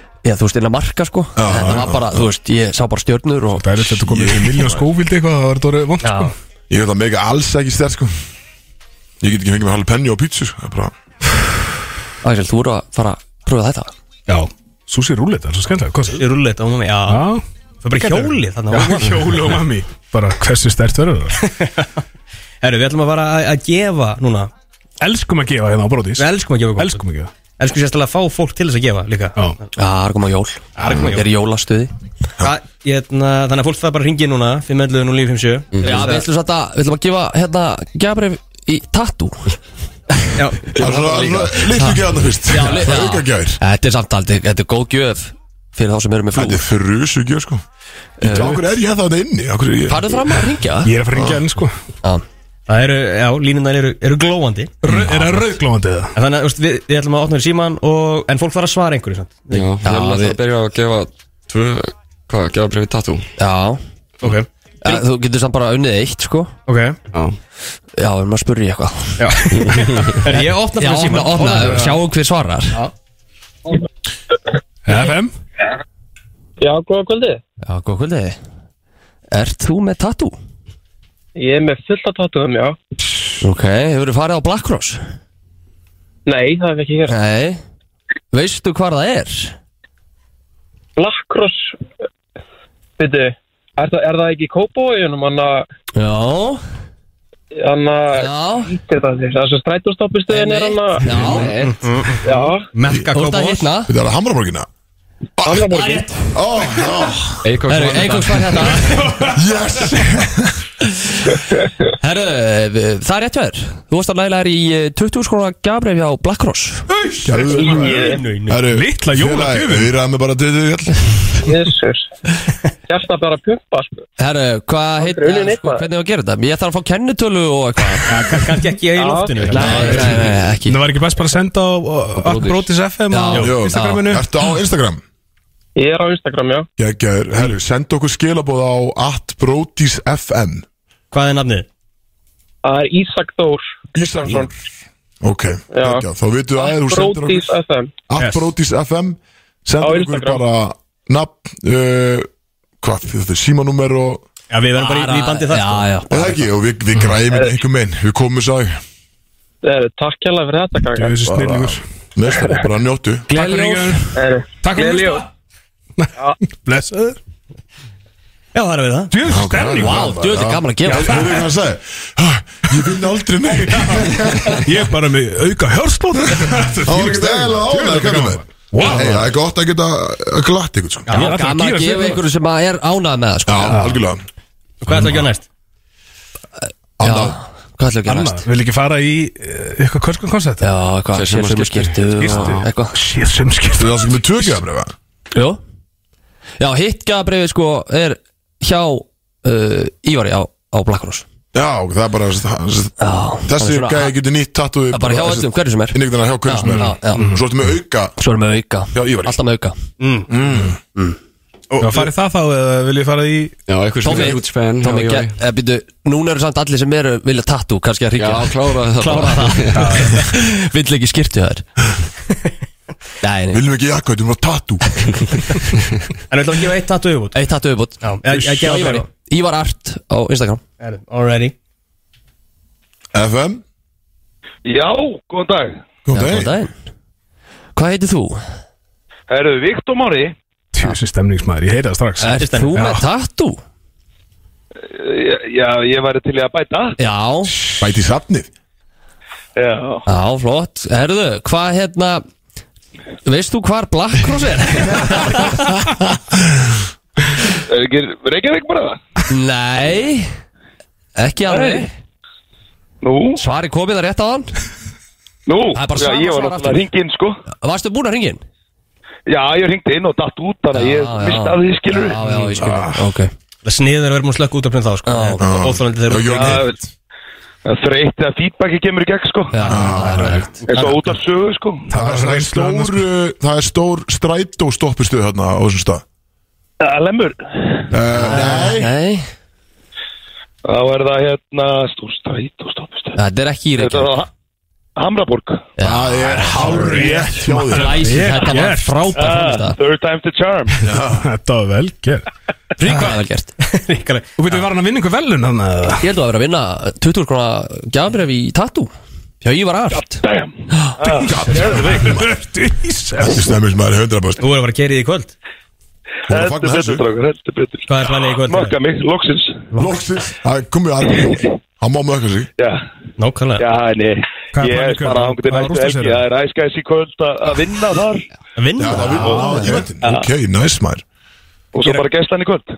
já, þú veist, innan marka, sko, þetta var bara þú veist, ég sá bara stjörnur og
Það er þetta komið í miljón skóvildi eitthvað Það var þetta orðið vond
já,
sko
Ég veit að mega alls ekki stær sko Ég get ekki fengið með halv penni á pítsu sko. Það er bara
Axel, þú eru að fara að pröfa þetta
Já Susi rúlið, það er svo skemmtilega Hvað sér?
Í rúlleit á mamma, já
Já
Það er bara hjólið þarna á
Já,
mamma.
hjóli og mami Bara hversu stert verður það?
Herru, við ætlum að fara að- að gefa núna
Elskum að gefa hérna á brótis
Við elskum að gefa gott
Elskum að gefa
Elskum sérstaklega að fá fólk til þess að gefa líka
Já
já, það er komað jól,
er að koma jól.
ég er í jólastuði
Hva- hérna, Þannig að fólk það bara ringi núna 511 0957 Til
já,
þess
við
að-
ætlum satt að, við ætlum að gefa hérna, gjabrif í tattoo
Já,
Það er svona litlu gæðarna fyrst
Já,
Það er
já.
auka gæðir
þetta er samt aldrei, þetta er góð gjöf fyrir þá sem eru með
Þetta
flú
er þrjusu gæð sko Akkur er ég það inni? Akkur er ég
farðu fram að ringja
Ég er að fara ringja enn sko
já,
það eru, já, línundar eru, eru glóandi
Rau- Er það rauðglóðandi eða?
En Þannig að þú veist, við, við ætlum að opna í síman og, En fólk þarf að svara einhverju sant?
Já, ég er alltaf
við-
að byrja að gefa tvö, hvað, gefa brefið tattoo
já,
Ok,
já þú getur samt bara unnið eitt, sko
ok
Já,
já, við erum að spurja í eitthvað
Herru, Ég opna fyrir
Já, opna,
síman
opna, sjáum hver svarar
FM?
Já, góða kvöldi.
Já, góð kvöldi Ert þú með tattoo?
Ég er með fullt af tattuðum, já.
Ok, hefur þú farið á Black Cross?
Nei, það hef ég ekki hér.
Nei Veistu hvar það er?
Blackross, veitu, er, það- er það ekki í kópóiðunum? Hann að,
Já
hann að,
Já
þetta er það sem strætóstoppistöðin er hann að,
Já,
já,
Mekka
þú ert að
kópa
hitna
Þetta er að hamraborgina
Hamraborgin.
Ó, já
Eikos
Herru, einhvers var hérna
Yes
Herru, við- það er rétt verður Þú varst að læla þér í eh, 20 skrona gafreif hjá Black Cross
Litla jólagjöfin.
Við erum bara til þau all
jésús.
Hérna
Hjarta bara að pumpa, sko.
Herru, hvað heit
unnið neitt,
sko,
maður.
Hvernig á að gera þetta? Ég þarf að fá kennitölu og eitthvað
Kannski ekki í loftinu
Nei, nei, nei, ekki
Það var ekki best bara að senda á Akbrótis FM
Já.
á
Jó.
Instagraminu
Ertu á Instagram?
Ég er á Instagram, já.
Gægjaður Herru, senda okkur skilabóð á atbrotisfm
Hvað er nafnið?
Það er Ísak Þór,
Íslandsson Ok,
Já.
ekki, þá veitum við aðeins þú sendir okkur
Brótis FM.
Appbrotis FM
Á
sendur okkur
Instagram.
bara nafn uh, hvað, þetta er símanúmer og
Já, við verðum bara í, í bandi það
Já,
sko.
já
eða ekki, og við, við græjum
Mm.
þetta einhver meginn, við komum þess að
Eh, Takk hérlega fyrir þetta,
Ég
kaka.
veist snillingur
mestar, bara njóttu
Gleðileg jól.
Eh,
Takk fyrir
gleðileg
að
jól.
Blessaður
Já, það er við það
græjum
Djöfn stemning
þetta
Vá,
bara.
djöfull er gaman að gera
Já,
þetta.
þú veit hvað hann sagði, "Ha, Ah, ég vinn aldrei neitt
Ég er bara með auka hjörsbóð
það var ekki stæla ánæg það er gott að geta eh, glatt ykkur svona.
Já,
ætla að
gaman að
gera
gefa
þetta.
einhverju sem að er ánað með það sko.
já, algjörlega
Hvað ætlum við að gera næst?
annað,
Hvað ætlum við að gera
Anna,
næst?
vil ekki fara í eh, eitthvað kvörskan koncept?
Já, eitthvað,
Sér sem
sér sem
að
skiptu
Gistu?
og eitthvað
Sér sem skiptu
þú veist ekki með tökjaðabrefa
Jó Já, hitt gafabrifið sko er hjá uh, Ívari á, á Black Rose
Já, það er bara Þessi
svona-
gæði getur nýtt tattúið
Það er bara hjá öllum, hverju sem er
Innigdana hjá hverju sem er
Já, já, já.
Og Svo ertu með auka
Svo erum við auka,
Já, Ívari.
alltaf með auka
og,
Já, farið það þá eða vil ég fara í
Já, eitthvað sem er huge fan
Tómi,
já, já, já.
eh, býttu, núna eru samt allir sem eru vilja tattu, kannski að
Já,
ríkja
kláraði það
Klára það Vill ekki skiptu þær Nei, nei,
Viljum ekki jakka, þetta er bara tattú
En við ætlum að gefa eitt tattu yfirbútt
eitt tattu viðbútt
Já, ég- ég gef
Ívar
það
Ívar Art á Instagram
fyrir Already
FM,
Já, góðan dag
kom
Já,
það
góðan
einn
daginn. Hvað heitir þú?
Herðu, Viktor Mári
Tjósi stemningsmæður, ég heita það strax
Er þú
Já.
með tattu?
Já, ég væri til í að bæta
Já,
Bæti í safnið
Já
já, flott Herðu, hvað hérna Veist þú hvar Black Cross er?
Er ekki Reykjavík bara það?
Nei Ekki alveg
Nú,
Svari komið það rétt á hann
nú
Það er bara
Já,
sama
ég
svar
var
aftur.
náttúrulega hringi inn sko
Varstu búin að ringin?
Já, ég hringdi inn og datt út Þannig að ég mista að því skilur
Já, já, ég skilur Ok
Það sniður að vera múin slökk út af print þá sko.
Já.
Það er Óþólandi þegar
Já,
Það er- það er þreytt að feedbacki kemur í gegn sko
Já, það er rétt
eins og út af sögu sko
Það er svona
reynslu annars.
stór uh, Það er stór strætóstoppistuð hérna á þessum stað
Eh, Lemur
uh, Nei,
Nei
Þá er það hérna stór stræt og stoppist
Þetta er ekki í
Þetta
Reykjavík
er það Hamraborg
það er hárið rétt hjá þér
Glæsi,
Vel
þetta var
gert.
frábært
Ah,
framist
Third time to charm
Þetta var vel gerð
Ríkvað vel gert
Ríkaleg
Og veitum, var hann að vinna einhver velun hann eða?
Ég held að vera að vinna 20 krona gjafabref í tattoo Já, ég var art
Damn Ah, geðveikt.
Þessi stemmir sem er 100%
Þú er að fara að keira í því í kvöld
Hún er að
Heldur
fagna
betur
þessu
drákur, heldur betur
Hvað er planið í kvöld?
Makka mig, loksins
Loksins, það er komið aðri jól Hann má mökka sig
Já,
Nákvæmlega
já, nei
Hvað er
Ég
planið í
er
kvöld?
bara ángur til
Hvaða
næstu
rústasera?
helgi Það er æskæðis í kvöld að að vinna þar
Að
Já,
vinna
það vil ná í völdin Ah, Ok, næs maður
Og svo bara gæslan í kvöld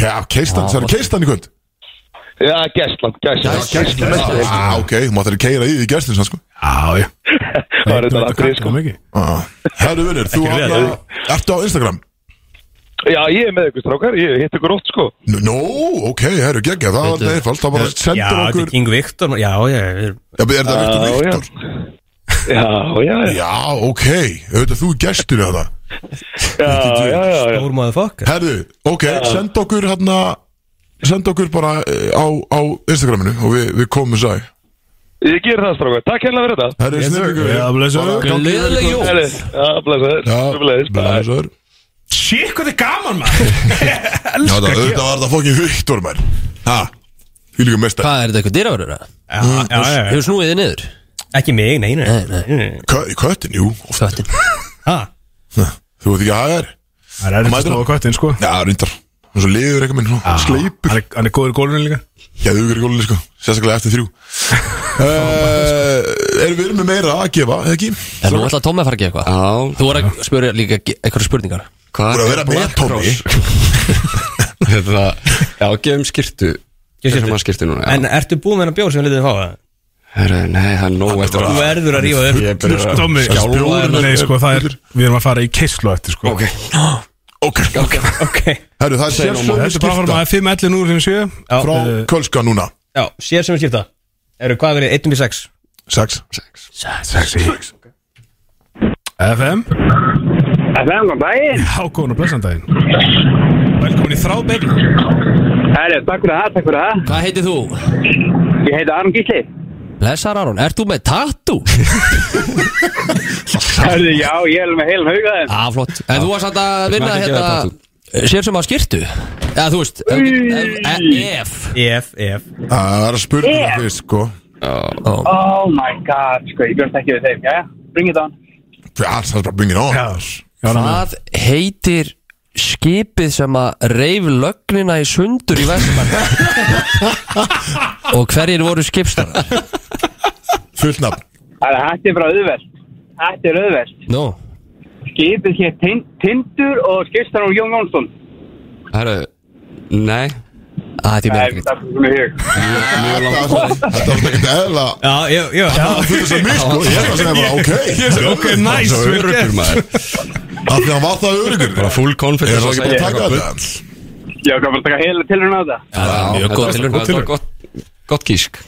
Ke- á, Keistan, það er keistan í kvöld
Já, gæslan, gæslan Gæslan næstu helgi
Á, Ah, Ok, þú mátt þeirra keira í því gæstin sko.
Já, já
Það er þetta aðrið sko
mikið
Á, Ah, Herru vinnur, þú
Ekki vel.
hafna- ertu á Instagram
Já, ég er með ykkur strákar, ég hitt ykkur ótt sko
Nú, no, ok, herru, geggja, það var neðfald Það bara
Já,
sendur
þetta
okkur
er King Victor Já, já, við erum-
Já, Er það Viktor
Já, já.
Viktor?
Já, já, já,
Já, ok, auðvitað þú er gestur í þetta
já, já, já, já.
stór maður fokk
Herðu, ok, send okkur hérna Send okkur bara eh, á, á Instagraminu og við, við komum sæ
Ég ger það strákar, takk hérna fyrir þetta
Herðu, snöggur
Já, blessaður.
Gleðileg jól
Herri, Já, blæsaður,
Já,
blæsaður
blæsaður
Shit, hvað þið gaman maður
Já, það auðvitað var það fókin Viktor mær Ha, því líka mestar
Hvað er þetta eitthvað dýraverður?
Já, já,
Eh.
já, já
Hefur snúið þið niður?
Ekki mig, nei, nei,
Nei,
nei, nei.
Kö- Köttin, jú,
Föttin
Ha,
þú veit ekki að haga þér
Það er erfitt að
Mætir
snúa
hann?
köttin, sko
Já, reyndar, hann svo liður eitthvað minn svona, Sleipur,
Hann er- hann er góður í gólfinu líka
já, þú verður gólinni sko Sérstaklega eftir þrjú uh, Erum við með meira að gefa, eða ekki?
En nú ætla Tómi að fara að gera eitthvað
Já,
Þú voru að spyrja líka ge- einhverjar spurningar
hvað
Búin að vera með Tommy
Hérna, já, gefum skirtu
skyrtu.
Gefum hann skirtu núna já.
En ertu búið með hennar bjór sem við lítið að fá það?
Herru, nei, það er nóg eftir
Þú
að
verður að rífa þér
Ah, Ég er bara að
Tommi,
skjálfa
nei, sko, það er Við erum að fara í keislu eftir, sko
Ok,
Ok,
Ok
herru, það er sérsöfum
Þetta er Eh. bara að
skipta
fara maður 5, 11, 0, 5, 7
Já,
frá Kölska núna
já sér sem við skipta Eru hvað verið 1 um 6
Sex
FM
FM, góðan daginn
Hákóðun og blessandaginn Velkomin í þrábeinu
Herri, takk fyrir það, takk fyrir það
Hvað heitir þú?
Ég heiti Aron Gísli
Blessar Aron, ert þú með tattu?
Herri, já, ég er með heilum hauga þeim
Já, flott En þú varst samt að vinna
mætti ekki vera tattoo.
hérna Sér sem að skirtu Já, þú veist ef- ef- e- Ef
EF, EF
Það er að spurninga yeah. fyrst, sko
Oh my god, sko, ég björnst ekki við þeim, já, bring it on
Já, það er bara bingin á
Hvað heitir skipið sem að reif lögnina í sundur í vestmann Og hverjir voru skipstara?
Fullt nafn
Það er hættið frá auðvelt Þetta er auðvelt
Nú
Skipið hér Tin- Tindur og skipstar úr Jón Jónsson
herru, nei
Að þetta er
Það
mér
er
ekkert
það sem ég hug
Þetta var ekkert eðla
Já, ég, já, já
Fyrir þess að mig, sko Ég er að segja bara, ok
Ok, næs
Það er
Öryggur maður
Af því að hann var það örugur
Bara full confidence
Ég er svo ekki bara að taka
Eitthvað
þetta
Já, hvað var að taka heila tilhörna á þetta?
mjög
þetta
góð
var-
tilraun.
þetta var gott- Gott kísk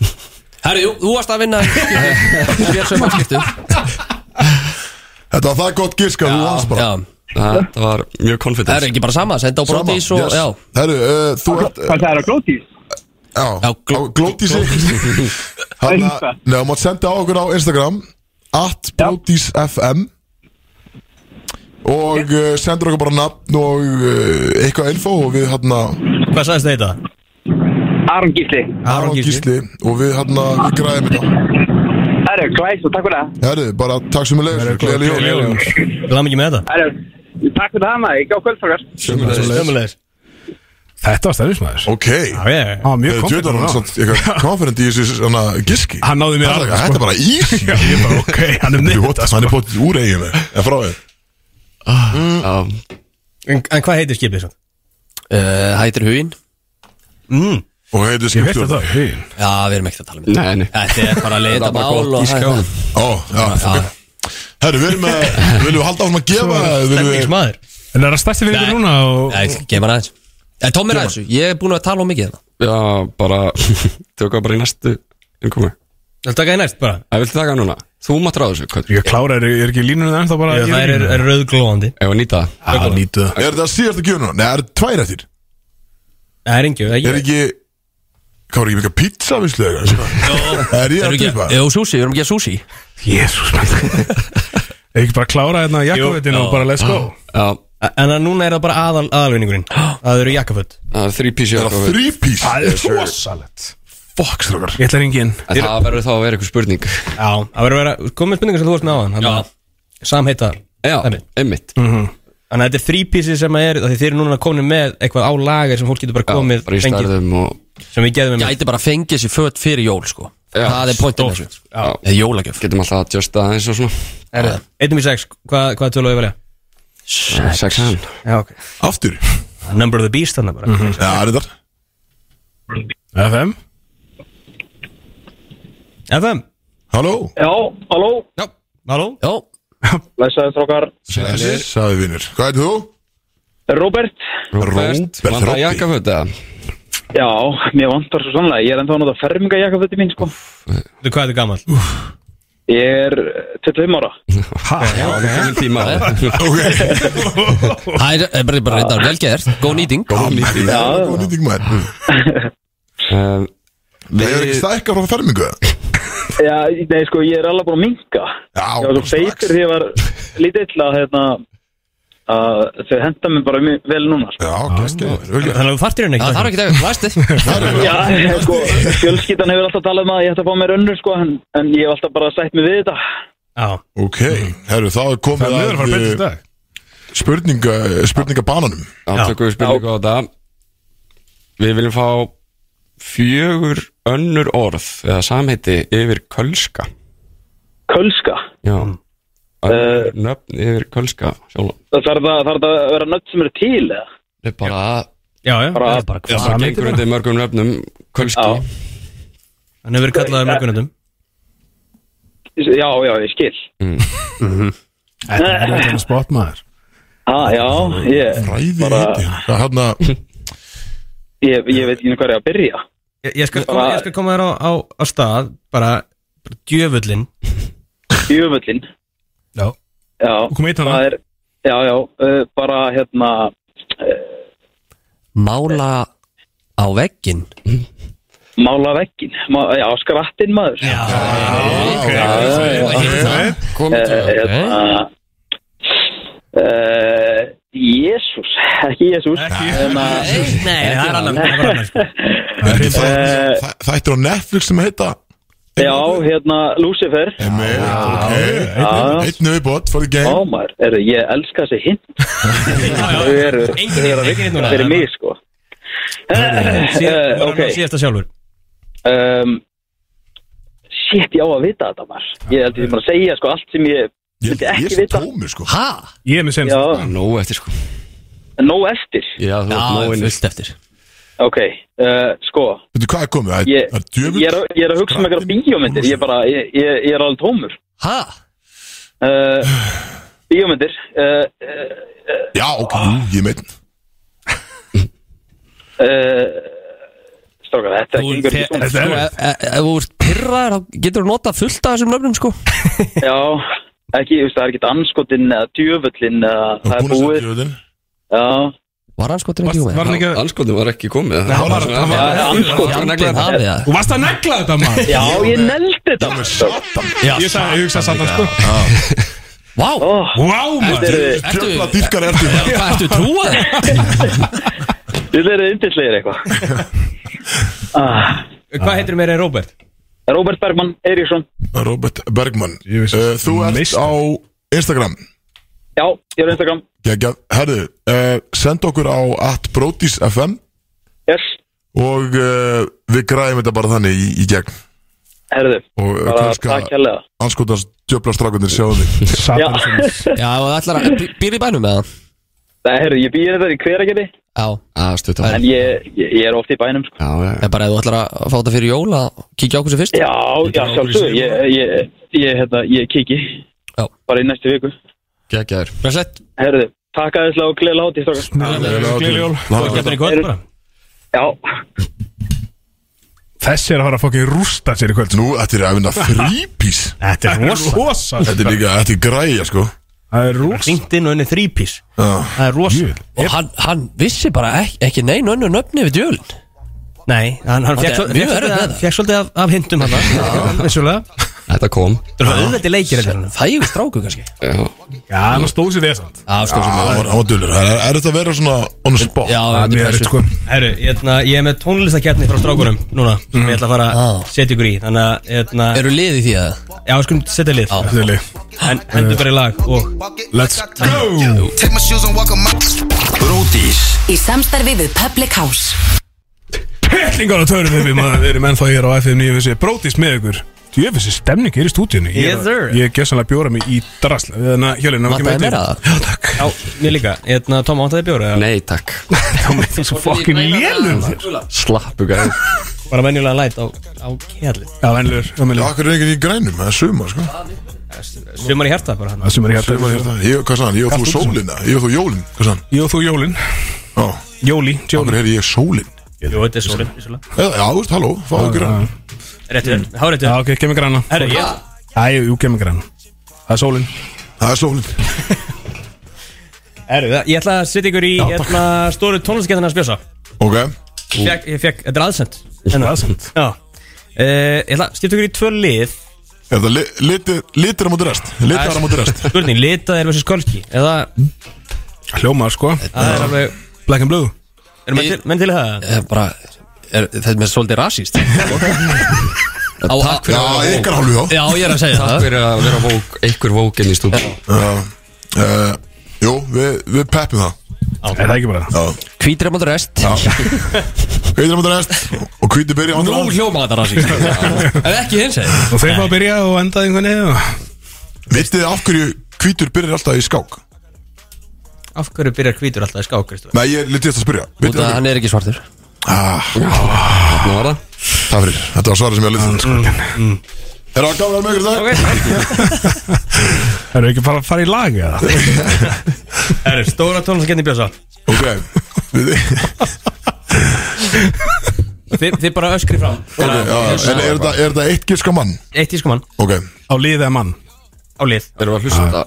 Herri, jú, þú varst að vinna Fyrir sömarskiptu
Þetta var það gott gíska, þú vannst bara
Þetta var mjög konfidens
Það er ekki bara sama, senda á
Sama,
brotis og
yes.
já
Herru, uh, þú ert
Hvað það er á glótís?
Já,
Já, gló-
á glótísi Hanna,
Insta.
neða, mátt senda á okkur á Instagram atblótisfm og uh, sendur okkur bara nafn og uh, eitthvað info og við hérna
Hvað sagðist þetta?
Aron Gísli
Aron Gísli og við hérna við græðum þetta
Herru, glæs og takk fyrir það
Herru, bara takk sem við leiðum Gleðileg jól
Glam ekki með þetta
Herru, takk fyrir það maður, ekki á kvöldfakar
Sjömmulegis
Þetta var stærðismæður
Ok
Hann var mjög
Tjóðan
konfident
hann
núna.
samt eitthvað confident í þessu svona giski
hérna. Hann náði mér
Þetta
alveg, sko.
er bara easy
Já, ég bara, ok, hann er
Þú
mitt sko.
veit, Hann er bótt úr eiginu En frá þér
Já,
En, en hvað heitir skipið svo?
uh, Hættir huginn
Mm.
Og heitir
Ég veit þetta
skipstjórn
huginn.
Já, við erum ekkert að tala um
Nei, nei
þetta Þetta er bara að leita
Það var bara
mál
gott
og
gísk á honum.
Ó, já, ok Herru, við erum með Viljum við halda áfram að gefa viljum við-
Stemningsmaður
En er það stærsti fyrir
Nei.
núna og
Já, ég geima hann aðeins Eh, Tom er aðeins, ég er búin að tala um mikið hérna
Já, bara Tökum bara í næstu innkomu
Það taka í næst bara
Það viltu taka núna Þú mátt ráða þessu Hvað
Ég klára, er, er ekki línunum ennþá bara
Það er, er, er rauðglóðandi
Ef að nýta það
Það nýtu það
Er þetta síðasta gjöfuna? Nei, það er tvær eftir
Það er engju, það
Er
er ekki
ekki Hvað var ekki mikið pizza visslu eða eitthvað? Er ég
Erum
að
við
týpa?
ekki- Jú, sushi, við erum ekki að sushi
Jésús Er ekki bara að klára hérna jakkovetin og bara let's go
Já,
En að núna er það bara aðal, aðalvinningurinn Það eru jakkaföld
það er þrý písi
Er það þrípís?
Það er rosalett
Fokk, strókar
Ég ætla að ringi inn
Það verður þá að vera eitthvað spurning
Já Það verður að vera Komið spurningar sem þú varst með áðan þannig að Samheita
Já,
Dæmi.
einmitt
Þannig að þetta er þrípísi sem að er Þegar þið eru núna komin með eitthvað á lager sem fólk getur bara
Já,
komið
Bara í
fengið,
stærðum og
Sem við geðum með
Gæti bara að fengi þessi föt fyrir jól, sko
Já,
Það er pointin
stórt.
þessu
Já.
Eða jólagjöf
Getum alltaf að justa aðeins og svona
Er það?
Einnum í sex, hvað, hvað tölu á ég velja?
Sex hann
Já, ok
Aftur?
Number of the beast þannig bara
Já, er þetta
FM
FM
Halló?
Já, halló
Já Halló
Jó,
Læsaði strókar
Sæði vinnur Hvað er þú?
Robert
Róbert
Róbert
Vantar
Robby.
jakkaföt eða?
Já, mér vantar svo sannlega Ég er ennþá að nota fermingajakkafötti mín, sko
Þú, hvað er þetta gammal?
Ég er eh, 25 ára
Já, það er komin tíma á það.
það er- er eh, bara, bara reyndar velgeðert Góð nýting
Góð nýting
Já.
Góð nýting maður
Um,
Það er ekki
Við
stækkar frá fermingu eða?
Já, nei, sko, ég er alveg búin að minka
Já,
Ég var svo
strax.
feitur því ég var lítill að, hérna, að þau henda mér bara mjög vel núna sko.
Já, gæstgæður
Þannig að þú fartir henni ekki
Það þarf ekki að Læsti
Já, sko, fjölskyldan hefur alltaf talað um að ég ætti að fá mér önnur sko, en, en ég hef alltaf bara sætt mig við þetta
Já
Ok, herru, þá er
Það
komið
er lögur að fara
að
betið í
eh,
dag
spurninga, eh, spurningabananum
átökum við spurningu á það Við viljum fá fjögur önnur orð eða samheiti yfir kölska
Kölska,
Já Önnur Nöfn yfir kölska sjálf
það þarf það, þarf það að vera nödd sem eru til eða?
Það er bara
Já, já
Bara-
það er bara
Já,
hvað
það gengur undir mörgum nöfnum kölski
Já.
Hann hefur verið kallaður mörgunandum
Já, já, ég skil
Þetta er þetta spott maður
ah, Já, ég,
Ræði
Bara-
hitti Það hann hérna, að
ég, ég veit ekki hvað er að byrja
Ég, ég, skal,
Bara-
ég skal koma þér á, á, á stað Bara, bara djöfullin
Jöfullinn
Já.
Já,
Og kom eitt hana.
það er Já, já, uh, bara hérna
Mála á veggin
Mála veggin, Ma já, skrattinn maður Já,
Komið til það
hérna Uh, Jésús, ekki Hérna, Jésús
Eh,
en að
Nei, það er annan Það er annan sko
Er
Eh,
ekki þætt- þæ- Þættir á Netflix sem heita
já, hérna Lucifer
Emme, ok
Já.
Einn viðbót for the game
ámar, er, ég elska þessi hint
sko.
þau eru
Engin
þau eru
hint, engin hint núna.
fyrir mig sko
Síðan-
uh,
bara
ok
okay. síðasta sjálfur
um, shit, ég á að vita þetta maður ég held ég sé bara að segja sko allt sem ég
Ég
myndi
ég er
ekki
svo
vita
tómur sko
Ha?
Ég er með senst
já,
Nó eftir sko
nóg eftir
Já, þú
Já,
ert nóinn
fullt eftir
ok, uh, sko
Veitu hvað er komið? Það er-
ég,
það er
ég, er, að- ég er að hugsa um eitthvað
skrattinn,
bíómyndir ég, bara, ég, ég, ég er alveg tómur
Ha?
uh, eh, Bíómyndir uh, uh,
Já, ok, jú, ég meinn
uh, Strákar, þetta gengur ekki svona
Sko, ef- ef ef þú ert pyrraður þá getur þú notað fullt af þessum nöfnum sko
Já, ekki, þú veist, það er ekki anskotinn eða djöfullinn eða það er búið Já
Var sko anskotin ekki
var hann ekki-
Anskotin var ekki komið
Nei, hann var- hann var- Já, andskotinn.
Þú varst að negla þetta maður
Já, ég neldi þetta sko.
Já, Ég sagði, ég hugsa satan sko
Vá
Vá maður
Tröfla dýrkar ertu
Hvað ertu trúað?
Þið verið yndislegir eitthvað ah,
Hvað heitir mér er Robert?
Robert Bergman, Eiríksson
Robert Bergman uh, Þú ert á Instagram
Já, ég er á Instagram
Gægjað, herðu, uh, senda okkur á atbrotisfm
Yes
Og uh, við græðum þetta bara þannig í, í gegn
Herðu,
Og uh,
bara takk
kannski
hérlega
anskotast djöflastrákundir sjáum þig
Já,
Já, og ætlar að Býr í bænum með það?
það herðu, ég býr þetta í hveragerði
Já
Já, stutt
En ég, ég, ég er oft í bænum sko.
Já,
En bara ef þú ætlar að fá þetta fyrir jól að kíkja á hversu fyrst
Já, já, sjálfsög Ég, ég, ég, hérna, ég kiki
Já.
Bara í næstu viku
Gægjær
Blessett
Herðu, takk aðeins og gleðilega hátíð strákar.
Gleðileg
hátíð.
Heyrðu- Já,
Þessi er að fara að fokkin rústa sér í kvöld
Nú, þetta er að vinna þrýpís
Þetta er rosa
Þetta er líka, þetta er græja sko
Það er rosa
Hringt inn og henni þrýpís
Já,
Það er rosa
Og hann, hann vissi bara ekki, ekki neinu önnu nöfni við djölin
Nei, hann, hann
Þetta
fekk
er
svo-
mjög
fekk
erfitt
svolítið
með
af- fekk svolítið af, af hintum hann Vissulega
Þetta kom
Það er auðvitað leikir þetta hann
Þægur stráku kannski
Já,
Já, hann stóð sér þess að
Já,
sko,
stóð sem
hann var- hann var dölur Það er- er þetta að vera svona on the spot
Já,
Það er
þetta
mjög
er
erfitt,
pressu
sko
Herru, hérna, ég er með tónlistakjarni frá strákunum núna sem ég ætla að fara að setja ykkur í Þannig að, hérna,
Eru liði því að
já, skulum setja lið
Þetta er lið.
En hendur bara í lag og
Let's go
Bródís
Í samstarfi við Public House
Pellingar á törnum við maður Við erum ennþá hér á FM 9 Við séum brótis með ykkur Jöfissi stemning er í stúdíunni Ég
Yes, sir.
er- Ég er gessanlega bjóra mig í drasla Við hérna, þannig að hjálina
Vantaði meira það?
Já, takk
Já, mér líka, hérna, Tom ántaði bjóra eða?
Nei, takk
Þá með þú svo fokkin lélum þér
Slappu gæði
Bara venjulega læt á, á kjærlið
Já, venlur Það
Akkur er einhvern í grænum, það er suma sko
Sumar í hjarta bara hann
sem er hérna
Suma hérna, ég, hvað sann, ég og þú sólina Ég og þú jólin, hvað sann
Ég og þú Jólin
Já,
Jóli, Jóli
akkur heyri ég sólin
Jú, þetta er sólinn, vissulega
Já, já, þú veist, halló,
Ah.
fá okkur að
Réttur, háréttur
Já, ok, kemur granna
Herru, ég
Mm. Já, jú, jú, kemur granna Það er sólin
Það er sólin
Herru, ég ætla að setja ykkur í, hérna, stóru tónlistakjarnina að spjósa
Ok,
Fekk, ég fekk, þetta er aðsend Hérna.
Það er sant
Já Eh, Ég ætla að skipta ykkur í tvö lið
er það li- litir, litir á móti rest Litir á móti rest
Spurning, litað er versus kolki Eða,
Hljómar, sko
það er alveg
Black and Blue
Erum menn til, menn til í það?
er Eh, bara er, Þetta er með svolítið rasíst Á takk
Já, ykkar hálfu já
Já, ég er að segja
Takk
það
fyrir að vera vók, einhver vókinn í stúdíu
Já, uh, jú, við, við peppum það
Er það ekki bara
Já
Hvítir er mátur rest
Hvítir á móti rest og hvítir byrja á móti
Nú
rest
hljóma þetta rasíst En ekki hins eða
Og þeir fá að byrja og enda einhvern veginn og-
Vitið þið af hverju hvítur byrjar alltaf í skák?
Af hverju byrjar hvítur alltaf í skák, Kristof?
Nei, ég litið þetta að spyrja
Út
Vitið
að
það?
hann er ekki svartur
Ah,
Nú var það
það fyrir, þetta var svarið sem ég litið sko.
Mm,
Ah.
Er það gaman að vera með ykkur í dag?
Það eru ekki bara að fara í lag eða
Herru, stóra tónlistakjarni bjósa
Ok, við
Þið þið bara öskri fram
Ok, já, en er þetta- er þetta eitt gíska mann?
Eitt í skumann
Ok,
Á liðið eða mann
á lið
Þeir eru að hlusta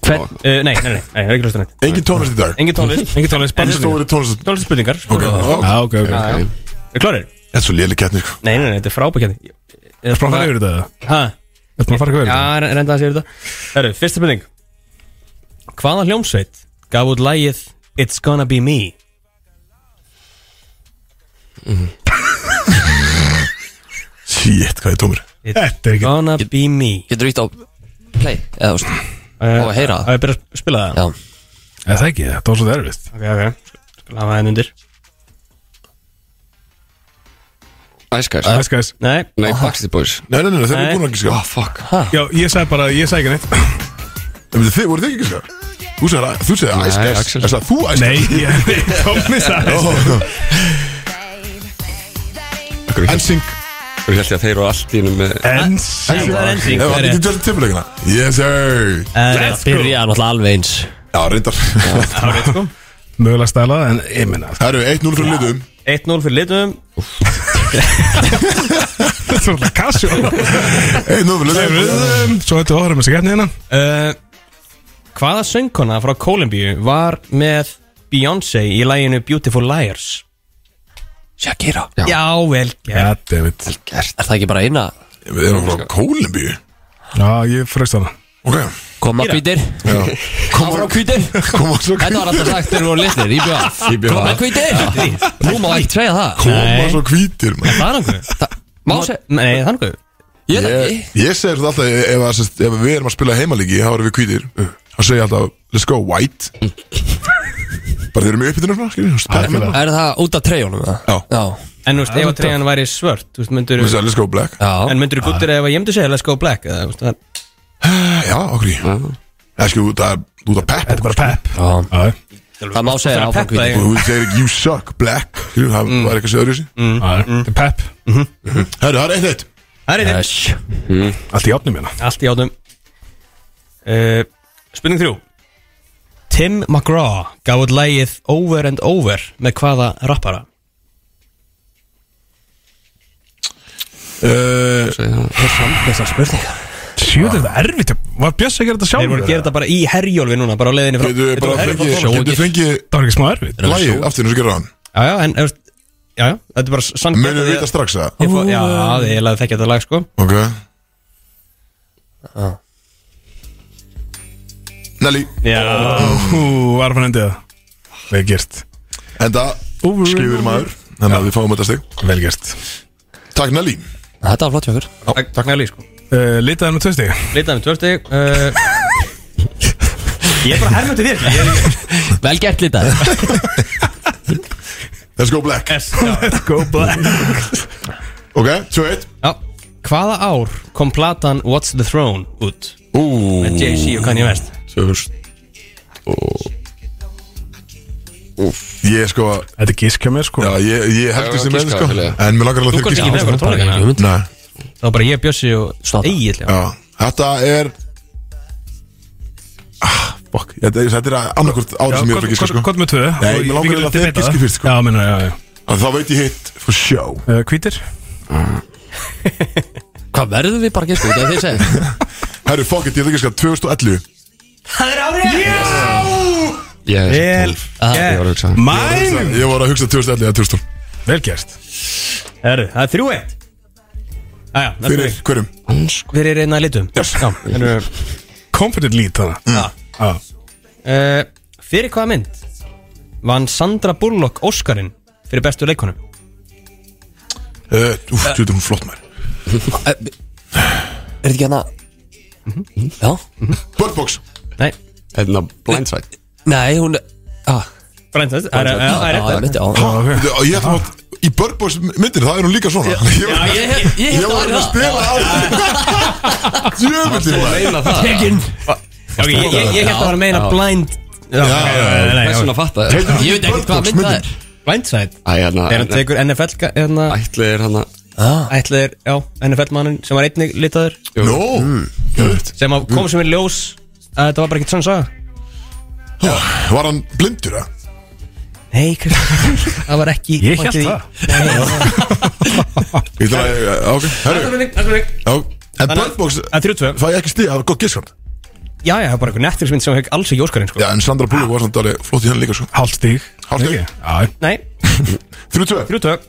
Hvern? Uh, nei, nei, nei, nei, það er ekki hlustan neitt
engin tónlist í dag
Engin tónlist
Engin tónlist, bara
Engin stóri tónlist
Tónlist spurningar
Ok, já,
Já, Ah, ok, ok
Er klárir?
þetta er svo léli kettni sko
Nei, nei, nei, þetta er frábækjandi
Ertu bara að fara yfir þetta eða?
Hæ?
Ertu bara að fara yfir
Já,
þetta?
re- reynda að segja þetta Herru, fyrsta spurning Hvaða hljómsveit gaf út lægið It's Gonna Be Me?
Shit, hvað ég tómur
Þetta er ekki
Gonna Be Me
Getur ítt á play Eða þú veist
Eh,
Og að heyra
Á ég byrja að spila það?
Já
Er Það ekki, þetta var svo erfist
Ok, ok Skal hafa henn undir
Æskæs
Það er skæs
Nei
Nei, Backstreet Boys
Nei, nei, nei, þeir eru
Nei.
búin að gíska
Ah, fuck
Já, ég sagði bara, ég sagði ekki neitt
En Þið voru þið ekki gíska? Þú segir að- Þú segir að
Nei,
æskæs
Axel.
Er það þú Oh.
Nei,
æskæs?
ég tónlist það
Nei
Akkur held
Ensing
ég að þeir eru allt í einu með
En
Það er
Ef
ennsýn
það er ekki Justin Timberlake Yes sir
Let's go
Byrja náttúrulega alveg eins
Já, reyndar
Það er sko
Mögulega stæla, en ég minna
Það eru 1-0 fyrir liðum
1-0 fyrir litum
Þetta er alltaf kassu
Hey, nú viljum við
Svo þetta áhverjum þess að getna hérna
uh, Hvaða söngkona frá Kólumbíu var með Beyoncé í læginu Beautiful Liars?
Shakira
Já, vel gert
Goddammit
Er það ekki bara eina
Við erum frá Kólumbíu
Já, ég fröst hana
Ok
Koma
Shakira.
kvítir Koma frá kvítir
Koma svo
Þetta var alltaf sagt þegar við vorum litlir Í bjóð
Í BH.
Koma kvítir Nú má ekki segja það
Koma svo hvítir man.
Það er hanguð
Það- Má segja
Nei, það er hanguð
Ég veit ekki
Ég, ég segir þetta alltaf ef, ef, ef, ef við erum að spila heimalíki Þá erum við hvítir Þá segir ég alltaf Let's go white Bara þeir eru mjög uppbytunum Skiljum Þú
Er það út af treyjónum það?
Já.
Já
En þú veist, ef að treyjan væri svört Þú veist, myndur
segir let's go black
Já
En
Ah.
myndur þú guttir ef að ég myndi segja Let's go black eða, þú veist, það-
Já, okkur í Það skilju, það er út af pep
Þetta er bara pepp
Já.
Já,
Það má segja
Það er
áfram
peppa
kvítir
þig.
sko. Þú segir ekki you suck black Skilju, það var eitthvað sér öðruvísi
já, þetta er pepp
Herru, það er eitt eitt
Það er þetta
Yes
Allt í átnum hérna
Allt í átum uh, Spurning þrjú Tim McGraw gaf út lægið Over and Over með hvaða rappara?
Uh,
Eh.
Þessar spurningar
Sjöður þetta er erfitt Var Bjössi að gera þetta
Þeir voru
sjálfur?
að gera þetta bara í herjólfi núna bara á leiðinni frá
Getur við bara fengið
Sjóið.
Getur við fengið
Það var ekki smá erfitt
Lægið aftur eins og gerir hann
Já, já, en þú veist, Já, já, þetta er bara sann
Mennum við þetta strax að
Ég fó- Já, það er eiginlega að þekka þetta lag sko
Ok Nelly
Já,
Hú, var fann endið það Vel gert
Enda
Over and
Skrifur
over.
maður Þannig að við fáum þetta stig
Vel gert
Takk Nelly
Þetta var flott hjá okkur
takk takk næli sko
uh, Litaðan með tvösti
Leitaði með tvörsti uh, Ég er bara hermöndi þér sko. Ég
Vel gert lítið
Let's go black
er Já
Let's go black
Ok, 2-1
Já, hvaða ár kom platan What's the Throne út?
Ú
Með Jay-Z og Kanye West
Sjöfust Ég sko
Þetta er gísk hjá mér sko
Já, ég, ég held
Já,
þessi með
giska,
sko
Helga.
En mér langar alveg
Þú
þeir
komst ekki
giska
með okkur á tónleikana
Nei
Það var bara ég, Bjössi og
Slátra.
Egil
Já Þetta er Ah, Fuck Þetta þetta er annarkvort árið sem ég er að giska sko
Kott með tvö
Nei,
Og
mig langar
við getum
eiginlega að þið
metað
giskið
það.
fyrst, sko.
Já, minna, já, já
Þá veit ég hitt For show
Uh, Hvítir
Hvað verðum við bara að gera? Þetta er þið segja
Herru, fuck it, ég ætla ekki að giska 2011
Ég er
Vel
Ég var að hugsa það.
Mæn
Ég var að hugsa 2011 eða 2012
Vel gert
Herru, það er þrjú eitt Æja, það er
Fyrir
þrjú
hverjum?
Fyrir reyna að litum
Yes. Mm.
Já, herru
eh, Confident lead þannig
Já.
Já
uh, Fyrir hvaða mynd? Vann Sandra Bullock Óskarinn fyrir bestu leikonum
Uh, úf, þú
Eh.
veitum hún flott mær
Er þetta ekki hana Já
Bird Box
Nei,
Hérna blindside
Nei, hún ah,
brænt þetta Það er- já, það er
já,
rétt
einmitt, já.
Veitu, og Ég ætla að Í Bird Box myndir það er hún líka svona Ég var-
Ég hef- Ég
Ég
hérna hef
var
það
að spila á Jöfnvillir maður
Tekin
Ok, Ég, ég, ég held að það var að meina blind Já, já, já, já,
Hvað
já.
svona fatta það?
Heyrðu,
Ég veit
Bird
ekkert hvað
Box
mynd það
myndin.
er
Blindside
Æ, hérna
Þegar hann tekur NFL ka- hérna,
Ætli er hann að
Ætlið er, já, NFL mannin sem var einnig litaður
Nó Gött.
sem að kom sem er ljós að þetta var bara ekkert svona saga
Var hann blindur að?
Nei, Kristján, það var ekki
Ég held það
Ég ætla að já, Ok, herru
Það
já. En Bird Box
er 32
Fæ ég ekki stíð, það var gott giskan
Já, já, það var bara einhver Netflixmynd sem hefði alls ekki óskarinn sko.
Já, en Sandra Bullock var samt alveg flott í henni líka sko
Hálft stíg
Hálft stig.
Ekki? Já
Nei,
3-2
32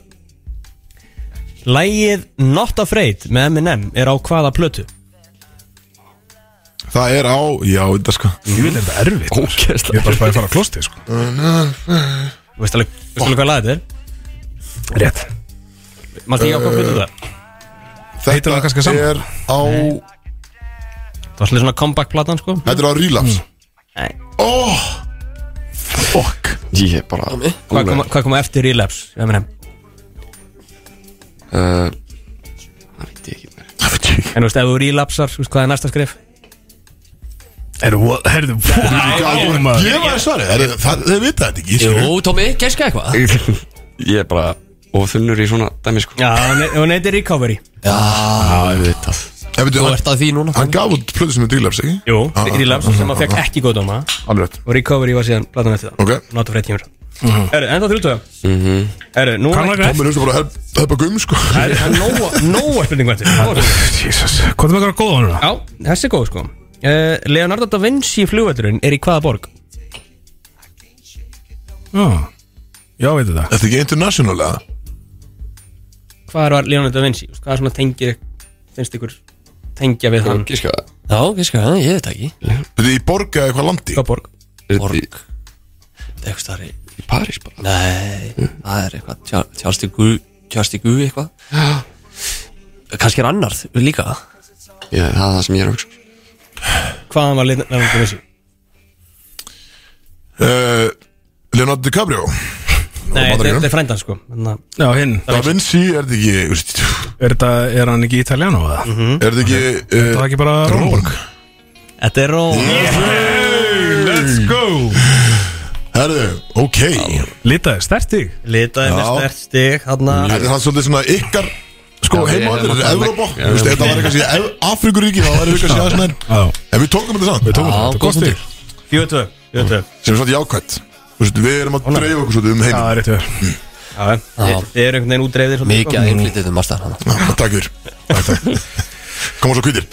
Lægið Not Afraid með M&M er á hvaða plötu?
Það er á Já, þetta sko
Ég vil þetta erfitt Ég
Ógeðslega
er bara spæði að fara að klosti sko
Þú veist alveg, þú veist alveg hvað lagið þetta er?
Rétt
Mástu ég á hvað plötu þetta?
Heitir það kannski
Þetta
saman?
er á
Það var svolítið svona comeback-platan sko
Þetta er á Relapse
Nei.
Ó Fuck
Ég er bara
Hvað kom, hvað kom eftir Relapse, M&M?
Uh, Það veit ég ekki meir
Það veit ég ekki
En þú veist, ef þú relapsar, þú veist hvað er næsta skrif?
Er það, herðu, fórum maður
Ég var svarið, það, það, þau vita þetta ekki skilur.
Jú, Tómi, gerska eitthvað
Ég er bara óþunnur í svona dæmi sko
Já, hún heitir Recovery
Já, ég veit það
En veitu,
Þú
hann,
ert að því núna
hann gaf út plöðu sem er Relapse, ekki? Ah,
Jú, Relapse sem að fekk ekki góð dóma
Alveg rétt
og Recovery var síðan platan eftir það
Ok,
Not Afraid kemur Herru, enda þrjútu Herru, nú
Hvað langar þér? Tommi, hlustu bara að helpa gum sko
Herru, það er nóga- nóga spurning eftir. Nóga spurning.
Jesus, hvað er með hérna? eitthvað góða núna?
Já, þessi er góð sko uh, Leonardo da Vinci flugvöldurinn er í hvaða borg?
Já, já veit þetta
Þetta er ekki international eða?
Hvað var Leonardo da Vinci? Hvað er svona tengir finnst ykkur tengja við hann?
Gíska það
Já, gíska það, ég veit það ekki
Þetta er í borg eða eitthvað landi?
Hvað borg?
Borg Það er eitthvað starri
Í París bara
Nei, það er eitthvað Tjá- Tjásti Gu Tjásti Gu eitthvað Kanski er annar þ- líka
Já, það er það sem ég er að hugsa sko.
Hvaðan var Leonardo da Vinci?
Uh, Leonardo DiCaprio
Nei,
Bandaríkjunum.
þetta er- þetta er frændan sko Þannig að-
Já, hinn,
Da Vinci, er þetta ekki veist,
er, þetta, er hann ekki italiano eða? Mm
Er þetta ekki
Það
uh,
er ekki bara Rómborg
Þetta er róm
Let's go
Herðu, ok
Litaði, stertig
Litaði með
Já.
stert stig Hanna
Þetta er það svolítið svona ykkar Sko
Já,
heimaður,
ég-
þetta er Evrópa
Já,
Þú veist,
já.
Þetta var eitthvað síðan Afrikuríki Það var eitthvað síðan svona en-
Já,
En við tókum þetta saman Við tókum
Já, góð
stig.
punktur.
Fjötu Fjötu
Sem er svolítið jákvæmt Þú veist, Við erum að dreifa okkur svolítið um
það
heim
er rétt verið
Já, Þið eru einhvern veginn útreifðir svolítið, sko. Mm.
Mikið að innflytjum marstaðan hann
Takk fyrir Takk, takk. Koma svo kvítir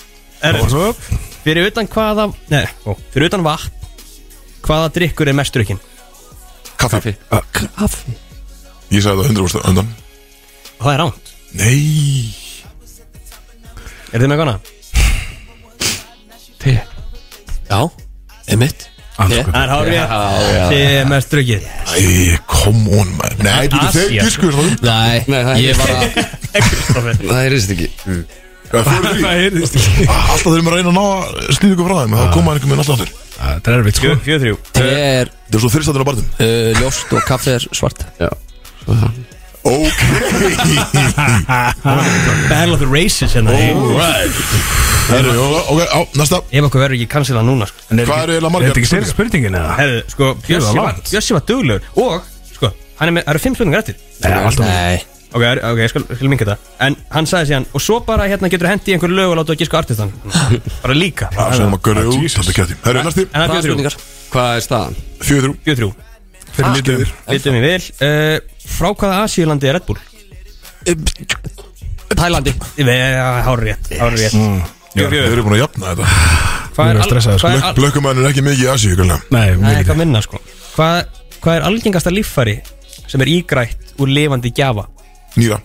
Herru,
Og svo,
Fyrir utan hvaða Nei, ó, fyrir utan vatn Hvaða drikkur er mest drukkin?
Kaffi
Kaffi
Ég sagði það 100% undan
Það er ránt
Nei
Er þið með eitthvað annað?
Te Já, emitt
andskot
Það er hárið Þið er mest drukkið
Æ, come on man Nei, þú veist, þeir
Asia,
gískuðu
sko.
svona um
Nei,
Nei, það
ég
er
var að
Það er þetta ekki
Hvað fóru því?
Það heyrðist ekki
Alltaf þurfum að reyna að ná að snýða ykkur frá þeim en
Ah.
Þá koma einhver minn alltaf aftur
Það er erfitt sko
Fjöðu þrjú
Te er
Það er svo þyrstatur á barðum
uh, ljóst og kaffi er svart
Ok
Battle of the Races hérna
Herru, ok, á, næsta
Ef okkur verður ekki cancela núna sko.
En er
Hvað
ekki-
eru eiginlega
er
margar
þetta ekki sér
spurningar?
spurningin eða?
Herðu, sko Bjössi
það
var,
langt.
Bjössi var duglegur Og, sko hann er með, Það eru fimm spurningar eftir
Nei, alltaf
Nei
Ok, er- ok, ég skal, skal minka þetta En hann sagði síðan Og svo bara hérna getur hendi einhver lög Og láta að gíska artistan Bara líka
Það sem að göra út Þetta kætti Herru, næsti
En það
Hvaða
er fjöðu þrjú
spurningar?
Hvað er staðan?
Fjöður þrjú Ah, Fyrir
Fjöðu þrjú
lítið
Vitum við vel uh, Frá hvaða Asíulandi er Red Bull?
Tælandi
Hárið rétt Hárið rétt mm. Fjöðu
Þeir
fjöðu
eru búin að jafna þetta
Hvað er,
Ég er
al,
stressaður,
hvað er
sko.
al,
Blökkumæðin er ekki mikið í Asi ykkurlega
Nei,
Nei,
mjög
eitthvað minna sko Hvað hva er algengasta líffæri sem er ígrætt úr lifandi gjafa?
Nýra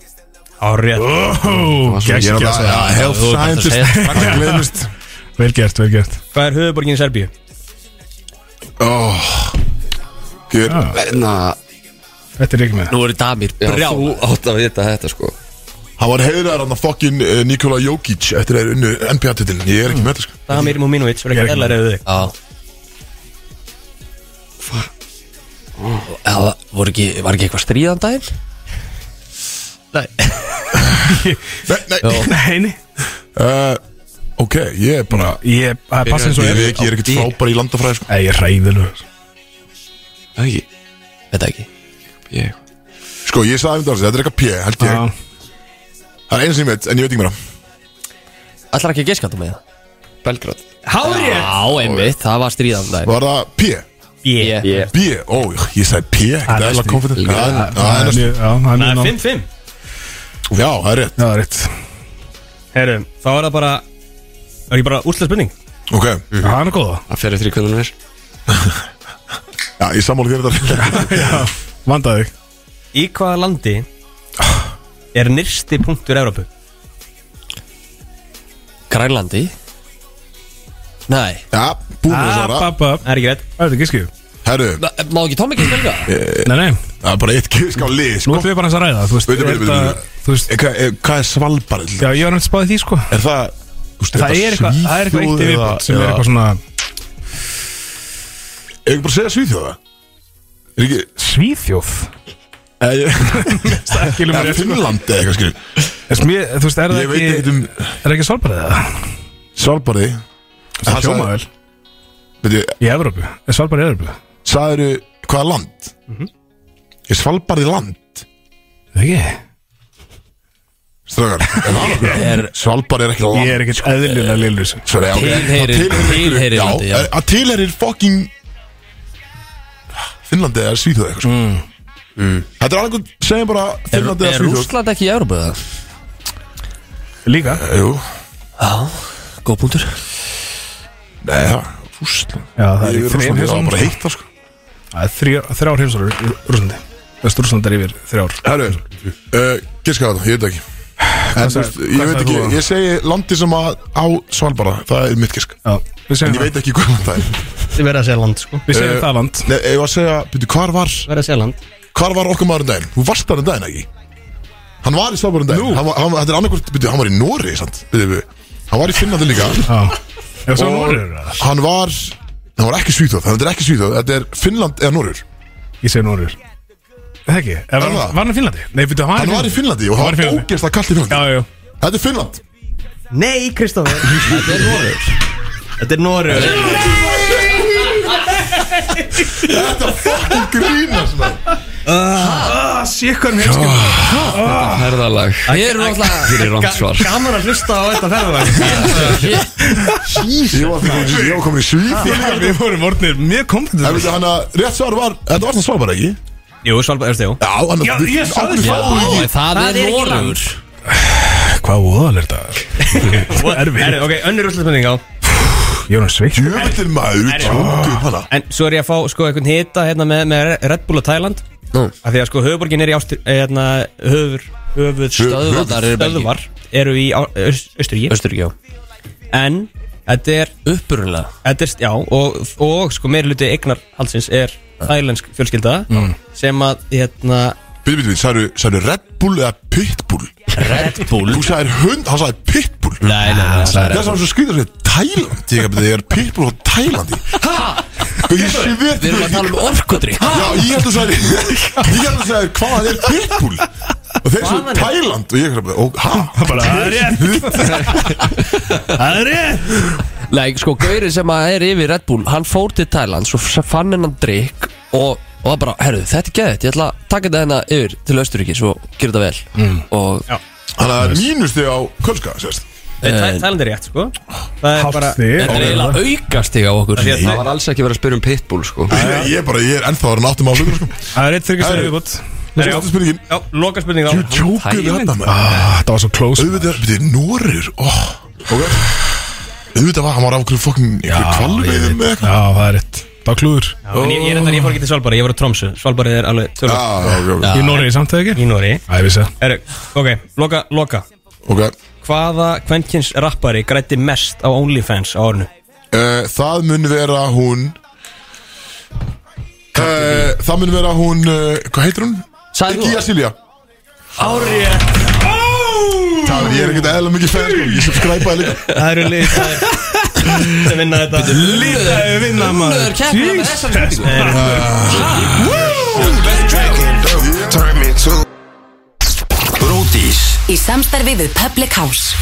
Árið
Ó,
Ég er að það
geggjað.
segja Health
þú ert að segja
scientist Það glemist
Vel gert, vel gert
Hvað er höfuborgin í Serbíu?
Ah. Gjör
Já.
Enna,
Þetta er ekki með
Nú eru damir
já,
brjá
þú átt að vita þetta sko
Hann var heiðar hann að fokkin eh, Nikola Jokic Eftir að er unnu NBA-titilin Ég er ekki með þetta sko
Damir Muminovic var
Ég er
ekki
ekki
eðlar eða þig
Já Það voru ekki, var ekki eitthvað stríðan daginn?
Nei, nei
Nei, nei
Eh, Ok, ég er bara
Ég, það er passið eins og
Ég
er
veit ekki, ég er ekkert frábær í landafræði sko
Nei, ég er ræðilur
Það ekki
Þetta ekki
Ég
Sko, ég sagði um þetta Þetta er eitthvað P, held ég Það er eina sem ég veit, en ég veit ekki meira
Ætlar ekki að geiska þú með það?
Belgrad
Hárið
Já, einmitt, það var stríðan daginn
Var það P?
Ég
Ég
B, ó, ég sagði P Ekkert
er
eðla
næstu.
confident Já,
Það
það
er
er næstu.
mjög- já, það er
Það
mjög
er
ná-
5-5
Já, það er rétt
Já, það er rétt
Herru, þá er það bara Það er ekki bara úrslega spurning
Ok,
Já, Það er nú góða
Það fyrir þrjú hvernig hún er
já, ég sammála þér þetta
Vandaði þig
Í hvaða landi er nyrsti punktur Evrópu?
Grænlandi Nei
Já, búin að
Ah,
svara
bap, bap.
Það er ekki rétt
Það er þetta gískið
Herru,
Ná- Má ekki Tommy ekki spilga?
Nei, nei
það er bara eitt gísk á lið
Nú
sko.
ætlum við bara hans að ræða Þú veist,
Eh, Veitum,
er
veitum,
þetta-
veitum.
þú veist
Eh, Hvað eh, hvað er svalbarð?
Já, ég var náttúrulega spáðið því sko
Er það þú veist,
Það er eitthvað, það er eitthvað eitt
Svíþjóð
í
eða-
viðbútt sem er
eða-
eitthvað svona
Ef Ég bara að segja Svíþjóða Er ekki
Svíþjóð
Eh, ég-
Skilum
eða
mér rétt, sko.
Finnland eða eitthvað skil
En sem ég- Þú veist, er það
Ég veit ekkert
ekki
um
Er ekki svalbarðið það?
svalbarði
Það hljóma vel Í Evrópu, er svalbarðið í Evrópu
Sæður hvaða land?
Mhm.
Er svalbarði land?
Það ekki
Strögar, er það nokkuð? Svalbarði er ekki land
Ég er ekkert eðlilega lillur þessu
Svo er ég-
Tilheyrir-
það tilheyrir
tilheyrir
einhverju-
landi, já.
Já, er- að tilheyrir fucking Finnlandi eða Svíþjóð eitthvað sko. mm. Þetta er alveg segjum bara
Er,
Finnlandi eða
er
Svíþjóð
Rússland ekki í Európa eða?
Líka?
Jú
Já, góð punktur
Nei, það Rússland
Já, það er
Yfir
í þrjum
Rússland, það var bara
heimsálfum,
heitt þar, sko.
Það er þrjár- þrjár heimsálfur í Rúslandi Vest-Rúsland er yfir þrjár
Herru, uh, giska þetta, ég veit það ekki En þú
sagði-
veist, ég
hvað
veit
sagði
ekki,
þú þá?
ég segi landi sem að á Svalbara, það er mitt gisk
Já, við segjum
En ég veit ekki hvað land það er
Þið verða að segja land sko
Við segjum
Eh,
það land
Nei, ég var að segja, byrju, hvar var
Verða að segja land
Hvar var okkar maðurinn daginn? Þú varst þarinn daginn, ekki? Hann var í Svalbara um daginn hann, var- hann, Þetta er annarkvort, byrju, hann var í Nóri, sant? Byrju, hann var í Finnlandi líka
Já Ef svo
Og
Norður eða?
hann var Hann var ekki Svíþjóð, þetta er ekki Svíþjóð Þetta er Finnland eða Norður
Ég segi Norður Það ekki Eh, Var
Er það?
var hann í Finnlandi? Nei, veitu,
Hann var í Finnlandi og það
Hann var í
var
Finnlandi.
ógeðslega kallt í Finnlandi
Já, já,
Þetta er Finnland
Nei, Kristoffer Þetta er Norður Þetta er Norður
Þetta er fucking grínast maður.
Herðalag
Ég er náttúrulega
Fyrir randsvar
Gaman að hlusta á þetta ferðarlag
Ég var komin í- ég var komin í Svíþjóð
Við vorum orðnir mjög kompetent
En veitu, hann að rétt svar var Þetta var það svar bara ekki
Jú, Svalbard, erstu, jú
Já, hann að
Já, ég
Ákveð
sagði
fáum við
Já,
ekki
það,
Það
er,
er ekki
Noregur
Hvað óðal er þetta?
Erfið Ok, önnur úrslutmynding á
Ég er hann sveitt
Jöfnir maður Tjóku upp hana
En svo er ég að fá sko einhvern hita hérna með, með Red Bull og Thailand
Nú.
Af því að sko höfuborgin er í ástur hérna, höfur, höfur
Stöðvarnar eru Belgíu.
stöðvar eru í Östuríki
Östuríkjá
En þetta er,
Uppurunlega
þetta er já, og, og sko meiri hluti eignar halsins er thailensk fjölskylda sem að hérna
Býtu, býtu, býtu Særu, særu Red Bull eða Pitbull
Red Bull
Þú særi hund Hann særi Pitbull
Nei, nei, nei Það
Það er svo skrítið að segja Tæland Ég hef- ég er Pitbull frá Tælandi Ég sé við
Við erum að tala um orkudrykk
Já, ég held að særi Ég held að særi Hvað er Pitbull? Og þeir svo Tæland Og ég hef bara og- Ha?
Bara, það er rétt Það er rétt
Nei, sko, Gauri sem að er yfir Red Bull Hann fór til Thailand, svo s- fann hennan drikk Og, og það bara, herru, þetta er geðið Ég ætla að taka þetta hennar yfir til Östuríki Svo gera þetta vel mm. Og
Þannig að mínusti á Kölska, sérst
Þa- Thailand er rétt sko Það er bara
þetta er
Hátti
eiginlega aukast þig á okkur
Af því að
Það var alls ekki verið að spyrja um pitbull sko
Ég ég er bara, ég er ennþá að náttum á hlutur sko.
Það er rétt þryggja
Það er-
stærri viðbútt
Það er spurningin
Já, loka spurning á
Þú tjókur við
Tæland.
Ah, þetta með
Það var svo close
Auðvitað, er- byrju, Norur oh, Ok Auðvitað var, hann var af okkur fokkin Ykkur kvalveiðum með eitthvað
Já, það er rétt Það var klúður
Já, en Ég, ég, er þetta, ég fór ekki til Svalbard, ég voru Tromsu Svalbard er alveg tölvöld
Já, ok, ok
Í Noregi samt eða ekki?
í Nóri
Æ, ég vissi það
Ok, loka, loka
Ok
Hvaða kvenkins rappari grætti mest á OnlyFans á ornu?
uh, Það mun vera hún uh, Það mun vera hún uh, Hvað heitir hún?
Sagði þú
Iggy
það?
Asilja
Árið
Það er ég er ekkert eðla mikið fæð sko. Ég subscribeaði líka
Það eru lið Það er sem vinna þetta
Líður
Vinna maður
Líður keppna með þessar spurningu
Bródís
Í samstarfi við Public House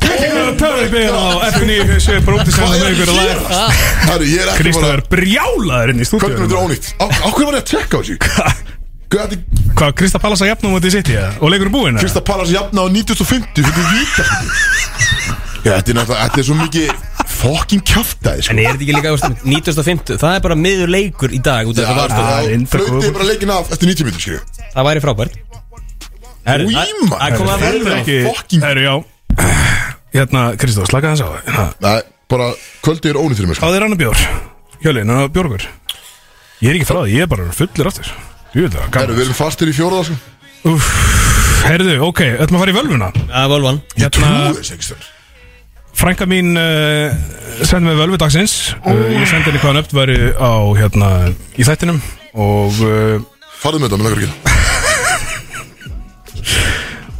Töfri byggðin á F957 Bróti sem
Hvað
með
er að
ykkur að
gerast?
læra
Herru, ég er ekki bara
Kristóður brjálaður inn í
Hvernig er
stúdíu
þetta ónýtt? Á á hverju var ég að tjekka á þessu? Hvað er
Hvað, Krista Pallas að jafna um þetta í sitt Og leikur búin eða?
Krista Pallas jafna á 9050 Þetta er víta Já, þetta er náttúrulega Þetta er svo mikið Fokkin kjaftaði sko.
En er þetta ekki líka þú veist, 1950? Það er bara miður leikur í dag út af
Það
það
var
var
það er
það
enda
Flöyti
góð.
bara leikin af Eftir 90 minnum skilju
Það væri frábært Herru,
Új,
það-
maður.
Það kom að
Herru,
verður
Þetta er
ekki
ekki
Fucking-
Það eru já Hérna, Kristó, slaka þess á Ha,
Nei, bara Kvöldi er ónýtt fyrir mig sko.
Hvað er annar bjór? Hjölin, annar bjórgur Ég er ekki frá því, ég er bara fullur aftur Jú, þetta var
Herru, við
gaman
erum fastir í fjóraða sko.
Úff, Herðu, ok, ætlum að fara í völvuna
Það var volvan
Ég trúi
Hérna-
þess ekki stöður
Frænka mín uh, sendi mig völvu dagsins uh, Ég sendi henni hvaðan öpt væri á, hérna, í þættinum Og, uh,
Farðu með þetta, með langar ekki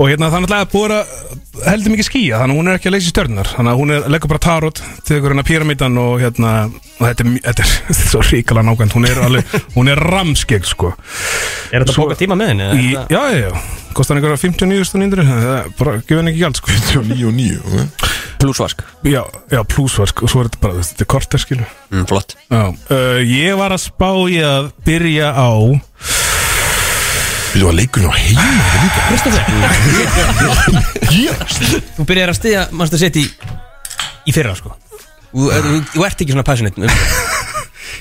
og hérna, það er náttúrulega búið að heldur mikið skýja Þannig að hún er ekki að leysa í stjörnunar Þannig að hún er, leggur bara tarot til ykkur hennar píramitan Og hérna, og þetta er, mj- þetta er svo ríkala nákvæmt Hún er alveg, hún er ramskegg, sko
Er þetta bóka tíma með henni?
Í,
eða?
já, já, já, kostar hann einhverja 59.900 það er bara, gefur hann ekki gjald sko.
9 og 9 ok?
Plusvask
já, já, plusvark og svo er þetta bara, þetta er korter skilu
mm, Flott
já, uh, ég var að spá í að byrja á
Við varum leikurinn á heima Gerast
Þú byrjar að stiðja eh, Manstu að setja í Í fyrra sko Þú þú- þú ert ekki svona passionate um-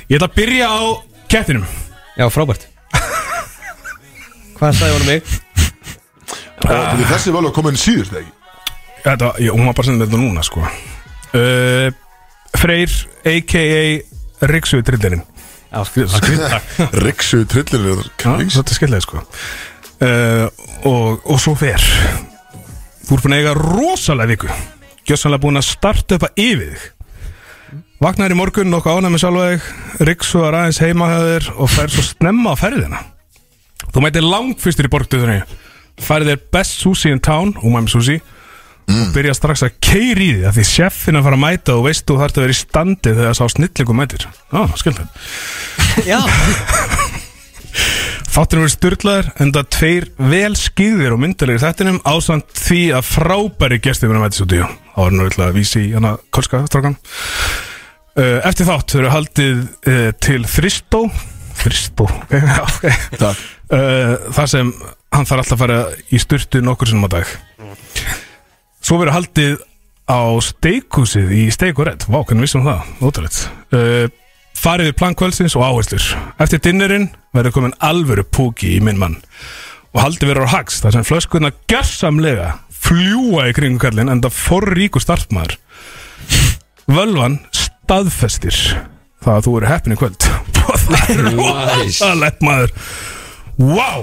Ég ætla að byrja á kettinum
Já, frábært Hvað sagði hún um mig?
Ah.
Þetta er þessi vel að koma inn síður þegar ekki
Þetta, ég, hún var bara sendið þetta núna sko uh, Freyr a.k.a. Riksu trillerinn
Riksu trillir
Þetta er skellið sko uh, og, og svo fer Þú ert búin að eiga rosalega viku Gjössanlega búin að starta upp að yfir þig Vaknar í morgun nokkuð ánæmi sjálfa þig Riksu er aðeins heima hjá þér Og fer svo snemma á ferðina Þú mætir langfyrstur í borgduðunni Færið þér best sushi in town Umami sushi og byrja strax að keiri í því að því chefin að fara að mæta og veist þú þarf að vera í standi þegar sá snillingu mætir Ah, á, skil það
já
þáttunum verið styrlaður en það tveir vel skýðir og myndalegir þættinum ásamt því að frábæri gestum verið að mætis út í þá er nú eitthvað að vísi í hana kolska strákan Uh, eftir þátt þau eru haldið uh, til Þristó Þristó, ok, já, ok uh, Þar sem hann þarf alltaf að fara í styrtu nokkur sinnum á dag Svo verður haldið á steikhúsið í steikurett Vá, hvernig vissum það, ótrúleitt uh, Farið við plankvöldsins og áherslur Eftir dinnerinn verður komin alvöru púki í minn mann Og haldið verður á hags þar sem flöskunna gjörsamlega fljúa í kringum kallinn en það forríku startmaður Völvan staðfestir það að þú eru heppin í kvöld og það er rosalegt maður Wow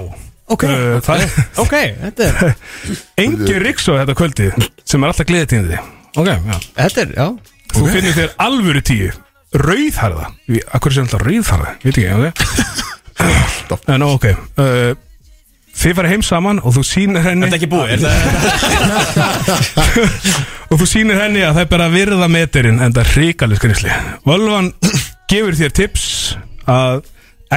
Ok, uh, það,
ok, þetta er
Engi Ríksó þetta kvöldi sem er alltaf gleðið tíðið Ok, já
Þetta er, já
Þú finnir þér alvöru tíu Rauðharða Við- Af hverju sem alltaf rauðharða? Veit ekki, ok En ok uh, Þið farið heim saman og þú sýnir henni
Þetta er ekki búið er það-
og þú sýnir henni að það er bara að virða meterinn en það er hrikalig skrýmsli Völvan gefur þér tips að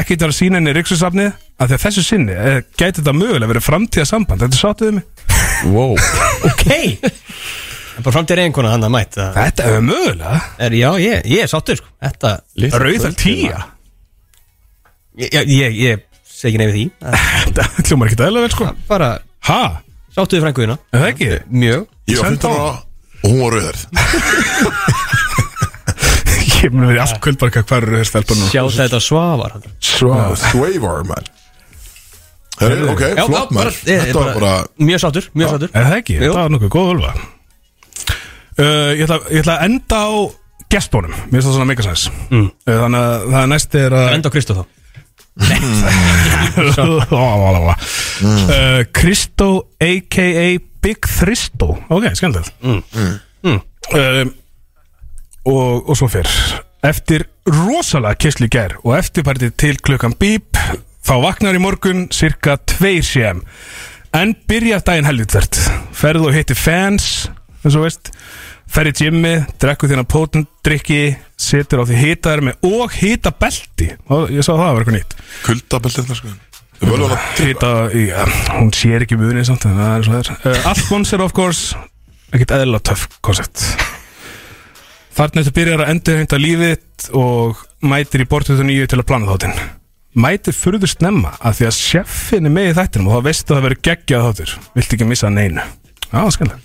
ekki þarf að sýna henni ríksusafnið að því að þessu sinni eh, gæti þetta mögulega verið framtíða samband þetta sáttuðu mig
Wow
Ok En bara framtíð er einhvern hann að mæta
Þetta er mögulega
er, Já, ég, ég er sáttur sko Þetta
Litla
Rauðar
kvöldið,
tíja
Ég, ég, ég, ég segi nefnir því
Þetta hljómar ekki aðeins vel sko
Bara
Ha?
sáttuði frænguðina
Er það ekki?
Mjög
Ég var
Senda
15 ára og hún var rauðar
Ég mun verið allt kvöld bara hvað- hvað eru þér stelpunum
Sjá þetta svafar
Swavar man Herri, Ok,
Já, já,
flott
bara-
maður
ég-
Þetta var bara
Mjög sáttur, mjög sáttur
Er það ekki?
Jú.
Það var nokkuð góð völva uh, ég, ætla, ég ætla að enda á gestónum Mér finnst það svona megasens mm. uh, Þannig að það næst er að
Enda á Kristó þá
uh, Kristó a.k.a. Big Thristó Ok, skemmtilegt mm. Eh, og, og svo fyrr Eftir rosalega kissli gær og eftirpartið til klukkan bíp þá vaknar í morgun cirka 2 cm en byrjar daginn helgjutvert ferð og hittir fans eins og veist ferð í gymmi, drekku þína potendrykki setur á því hitaðar með og hita belti ég sá það var eitthvað nýtt
kuldabeltið þarna, sko Völvan að
Hita, já, hún sér ekki munið samt en það er svo þér uh, Allt konser of course ekkert eðla töff koncept Þarna þetta byrjar að endurheimta lífið þitt og mætir í bortu 29 til að plana þáttinn Mætir furður snemma að því að sjeffin er með í þættinum og þá veistu að það verður geggjað þáttur Vilt ekki missa neinu Já, skilja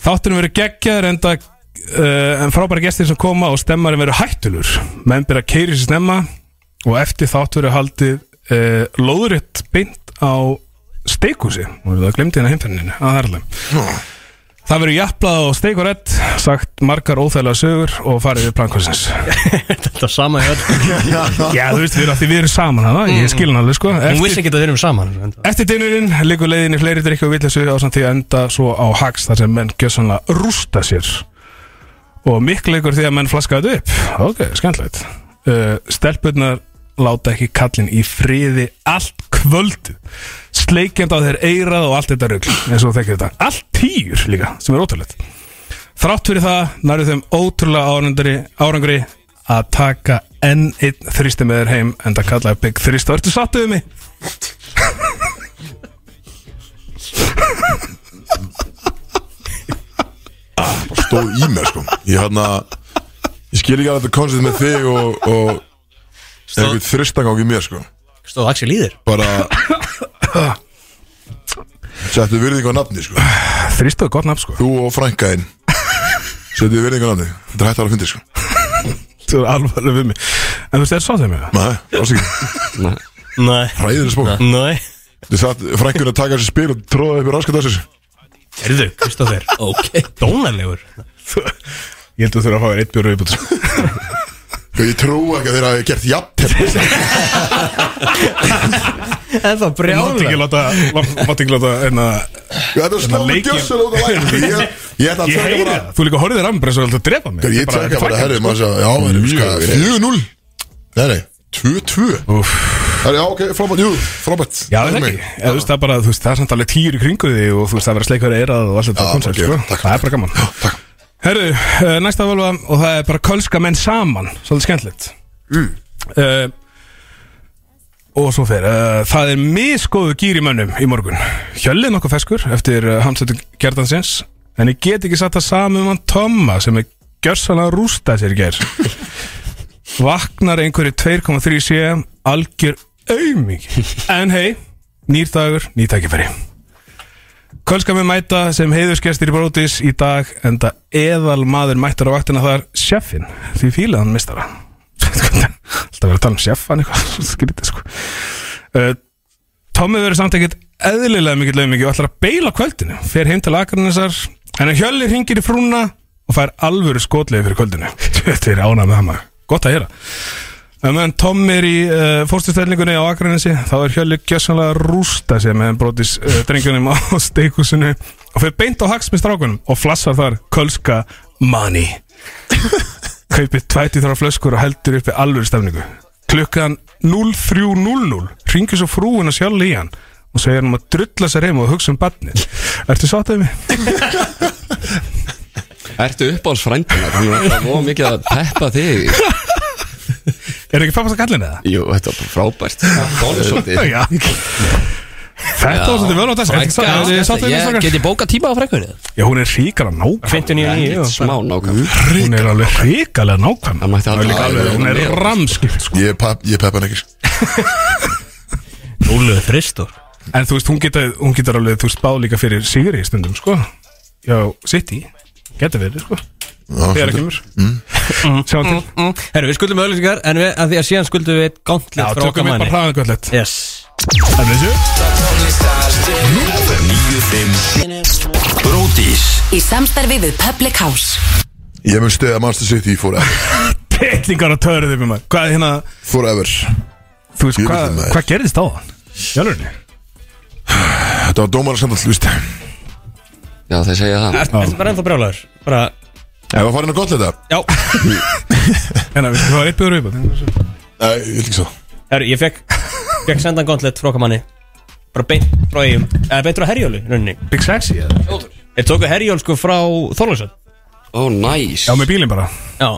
Þáttunum verður geggjaður enda uh, en frábæra gestir sem koma og stemmarinn verður hættulur menn byrja að keiri sér snemma og eftir þátt verður haldið uh, lóðuritt beint á steikhúsi og það glemdi hérna heimferninni að það er alveg Það verður jafnblað og steik og redd Sagt margar óþægilega sögur Og farið við plankvarsins
Þetta er sama hjá öll.
Já, þú veist, við erum, af því við erum saman hana Ég skil hann alveg, sko
Hún vissi
Eftir,
ekki að þeir eru saman enda.
eftir dinurinn liggur leiðin í fleiri drikki og villessu Á samt því að enda svo á hags Þar sem menn gjör svona rústa sér Og miklu leikur því að menn flaska þetta upp Ok, skemmtilegt uh, Stelpurnar láta ekki kallin í friði Allt kvöld Sleikjandi á þeir eirað og allt þetta rugl eins og þekkir þetta, allt týr líka sem er ótrúlegt Þrátt fyrir það nærðu þeim ótrúlega árangri, árangri að taka enn einn þrýsti með þér heim en það kallaði Big Þrýst og ertu sattu við mig?
stóð í mér sko Ég hann Ég skil ekki að þetta koncept með þig og, og einhvern þristangang í mér sko
Stóð Axel í þér
Bara Settu virðing á nafni sko
Þrýst og gott nafn sko
Þú og frænkaðinn Settu virðing á nafni Þetta er hægt að vera að fyndi sko
Þú er alvarleg við mig En þú veist, er sá þeim eða?
Nei, alls ekki
Nei
Ræðir smók
Nei
Þið satt frækkur að taka þessi spil og tróða upp í raskat þessu
Erðu, Kristoffer Ok Dónalegur
Ég held að þú þurfa að fá þér eitt bjóru viðbútt
Ég trú ekki að þeir hafi gert jafn
En það
Mátti ekki láta Mátti ekki láta hérna- En
Þetta er sláðu gjössul út á læginu Ég- Ég ætla að
Ég
taka
heyri
bara
það Þú líka horfið þér að mér Svo er alltaf að drepa mig
Ég
Þetta er
taka bara
þetta er
herri
fækkun,
maður sagði, Já, herri, sko, skar 4-0 Nei, nei 2-2 Herri, já, ok, frábært Jú, frábært
Já, það er ekki Eða, þú veist, það, er bara, þú veist, það er samt alveg tíur í kringu því og þú veist, það verður að sleika verið erað og allt þetta
Já,
koncept,
ok,
sko.
takk.
það er bara gaman já, Herru, uh, næsta völva og það er bara kölska menn saman svolítið skemmtilegt mm. og svo fer uh, það er misgóðu gýr í mönnum í morgun Hjölli er nokkuð feskur eftir uh, hamstötu gerðansins en ég get ekki satt það saman um hann Tomma sem er gjörsan að rústa sér í gær Vaknar einhverju 2,3 sé Algjör auðmík En hei, nýr dagur, nýr tækifæri Kölska með mæta sem heiðuskestir í brótis í dag Enda eðal maður mættur á vaktina þar Sjeffin, því fílaði hann mistara Alltaf verið að tala um sjeffan eitthvað Skrítið sko uh, Tommi verður samt ekkert eðlilega mikill auðmiki og ætlar að beila á kvöldinu fer heim til Akarnesar en að Hjölli hringir í frúna og fær alvöru skotlegi fyrir kvöldinu þetta er ánað með hama, gott að gera en meðan Tommi er í uh, fórstustellingunni á Akarnesi þá er Hjölli gjössanlega að rústa sér meðan brotis uh, drengjunum á steikusinu og fer beint á haks með strákunum og flassar þar kölska money kaupir 23 flöskur og heldur uppi alvöru stefningu klukkan 03.00 ringir svo frúin að sjálf í hann og segir hann um að drulla sér heim og hugsa um barnið Ertu sáttið mig?
Ertu uppáhalds frændinar, hann er alltaf of mikið að peppa þig
Er ekki pappast að kallin eða?
Jú, þetta var bara frábært Dónsótið
Já Þetta var svolítið vel á þessu Ertu sátt- ertu sáttið mig
Ég
strákar?
geti bókað tíma á frekkunni
Já, hún er ríkala nákvæm
59
Ekkert smá nákvæm
Hún er alveg ríkala nákvæm
Það
Hún
mætti
er
aldrei
líka
að
alveg,
vera
hún er
með.
ramskipt sko.
Ég pep- ég peppa hann ekki
Ólega þristur
En þú veist, hún getur, hún getur alveg, þú veist, báð líka fyrir sigri í stundum, sko Já, sitt í, getur verið, sko Þegar
Já,
kemur
Mm.
Sjáum til
Mm. Herru, við skuldum auðlýsingar En við, að því að síðan skuldum við eitt
Já,
gauntlet frá okkar
tökum við bara
manni
hraðan göllet
Yes
En þessu
Bródís
Í samstarfi við Public House
Ég mun stiða Master City forever
Pettingar að törðu þeim maður Hvað er hérna
Forever
Þú veist,
Ég veit það,
hvað
maður.
hva gerðist á þann? Jálfurni
Þetta var dómararskandall, víst Ef
Já, þeir segja það
Ertu ertu bara ennþá brjálæður? Bara,
að fara inn á gott þetta
já
En það það var eitt bjóður upp
Nei, ég vil ekki svo
Herru, ég fekk Fekk sendan gauntlet frá okkar manni Bara beint frá eigum Eða beint frá herjólu, rauninni
Big Sexy eða?
Þeir tóku herjól sko frá Þorlösson
Ó, næs
Já, með bílinn bara
Já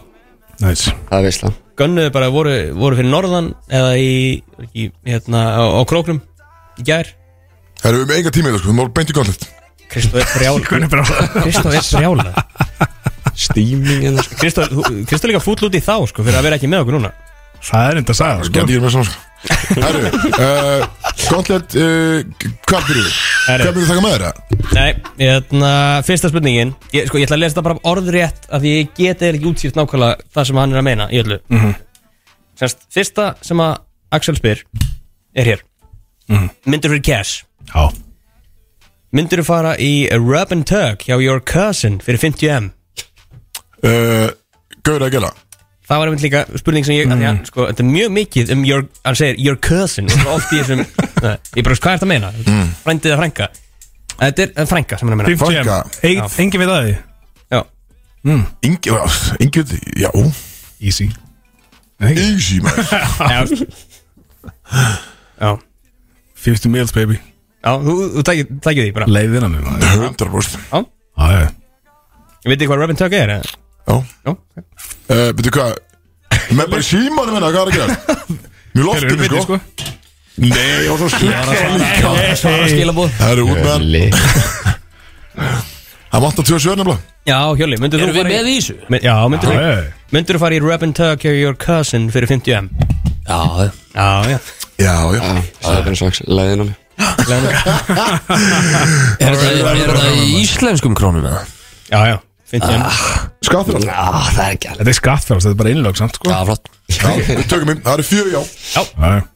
Næs
Það er veislan
Gönnuðu bara voru, voru fyrir norðan Eða í, í hérna, á, á króknum Í gær
Herru, við erum enga tíma í þetta, sko, við mál beint í gauntlet
Kristof er brjálæður
Hvernig bara
Kristof er brjálæður
Steaming en það
Kristó Kristó líka fúll út í þá sko fyrir að vera ekki með okkur núna
Það er enda að sagða, sko
Gæti ég með svona, sko Herru, uh, gauntlet, uh, hvað byrjuðu? Hvað byrjuðu þakka með þeirra?
Nei, hérna, fyrsta spurningin ég, Sko, ég ætla að lesa þetta bara orðrétt af því ég get eða ekki útsýrt nákvæmlega það sem hann er að meina í öllu mm Sérst, fyrsta sem að Axel spyr er hér Myndir fyrir cash
Já
Myndir þú fara í a Rub and Tug hjá Your Cousin fyrir 50M
Uh, Gaur að gæla
Það var einmitt líka spurning sem ég, mm. hann, sko, þetta er mjög mikið um your, hann segir, your cousin og svo oft í þessum, Nei, ég bara, hvað er þetta að meina? Mm. Frændið að frænka Þetta er frænka sem hann er að meina
50M
Franka.
Eitt- Engin við að því
Já,
Mm.
Ingi, ingi, já
Easy Nei,
Easy, maður
já, já.
50 mils, baby
já þú, þú tækir, tækir því bara
Leiðina mig, maður
100%
Já, já
Ég veit ekki hvað Robin Tuck er eða?
Já
Já, ok.
uh, Veitu hvað Menn bara í símanum hennar, hvað er að gera? Mjög
Þeir eru
loftinu,
mitt,
sko
sko
Nei, og svo skilja
Svara skilabóð
Það eru út með hann
Lí
Það vantar tvö svör nefnilega
Já, Hjóli, myndir þú
Erum við
fara
með
í
í þessu?
Men- Já, myndir
Já,
þú
já
Myndir þú fara í Robin Tuck hjá Your Cousin fyrir 50M
Já,
Já, já
Já, já
Það er bara eins og Axel, leiðin á mig
er þetta- er þetta í íslenskum krónum eða?
Já, já, 50M
Sko, Skattfjörðs?
Já, það er ekki alveg
Þetta er skattfjárhans, þetta er bara innlög samt sko
Já, flott
Já, við tökum inn, það eru fjör já
Já,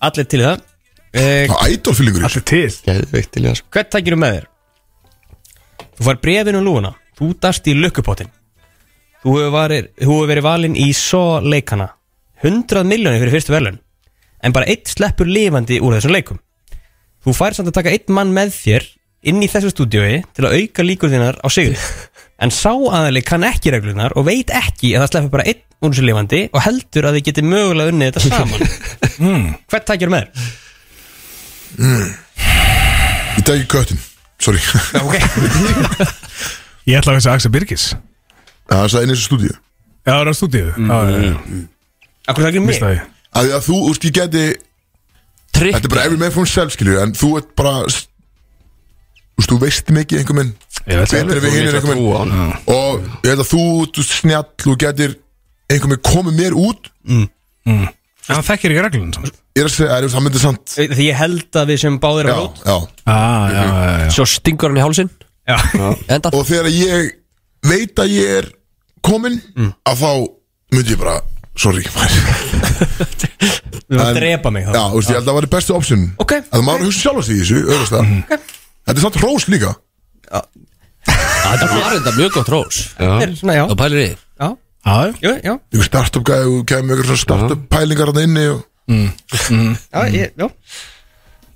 Allir til í það Eh,
Það er ædolfýlingur
Allir til
Geðveikt til í það sko
Hvert tækir þú með þér? Þú fær brefin um lúuna Þú dast í lukkupottin Þú hefur, varir, þú hefur verið valinn í svo leikana 100 miljónir fyrir fyrstu verðlun En bara eitt sleppur lifandi úr þessum leikum Þú fær samt að taka einn mann með þér Inn í þessu stúdíói Til að auka líkur þínar á sigur En sá aðali kann ekki reglunar Og veit ekki að það sleppur bara einn úr þessu lifandi Og heldur að þið geti mögulega unnið þetta saman Hvert tækir þú með þér?
Ég tæki köttin, sorry
Ég ætla að þessi Axel Birgis Já,
Það er það einu þessu stúdíu
það er á stúdíu Já, já, já,
Akkur tækir mig?
mistaði ég.
Af því að þú, úrst, ég geti
Trygg
Þetta er bara every man for himself, skilju En þú ert bara Úrst, þú veist mikið einhver minn
Ég veit það
Betur við hinir einhver minn
Trú á hann
Og ég held að þú, þú ert snjall Þú getur einhver minn komið mér út
En það þekkir ekki reglun samt
Ég er að segja, er, það myndir samt
Því ég held að við sem báðir á
Já,
rót
já
Já, já, já, já
Svo stingur hann í hálsin
Já.
Enda
Og þegar ég veit að ég er komin Að þá myndi ég bara Sorry, maður
Þú var
En-
að drepa mig þá
Já, þú veist, ég held að það væri bestu option
Ok.
Að maður hugsa sjálfast í þessu, öðvast það Þetta er samt hrós líka
Þetta var þetta mjög gott rós
Þetta er svona, já,
Og pælir í því.
já,
Já, já.
jú, já,
Ykkur startup gæði og kemur ykkur svona startup pælingar hann inni og
já,
Mm.
ég, já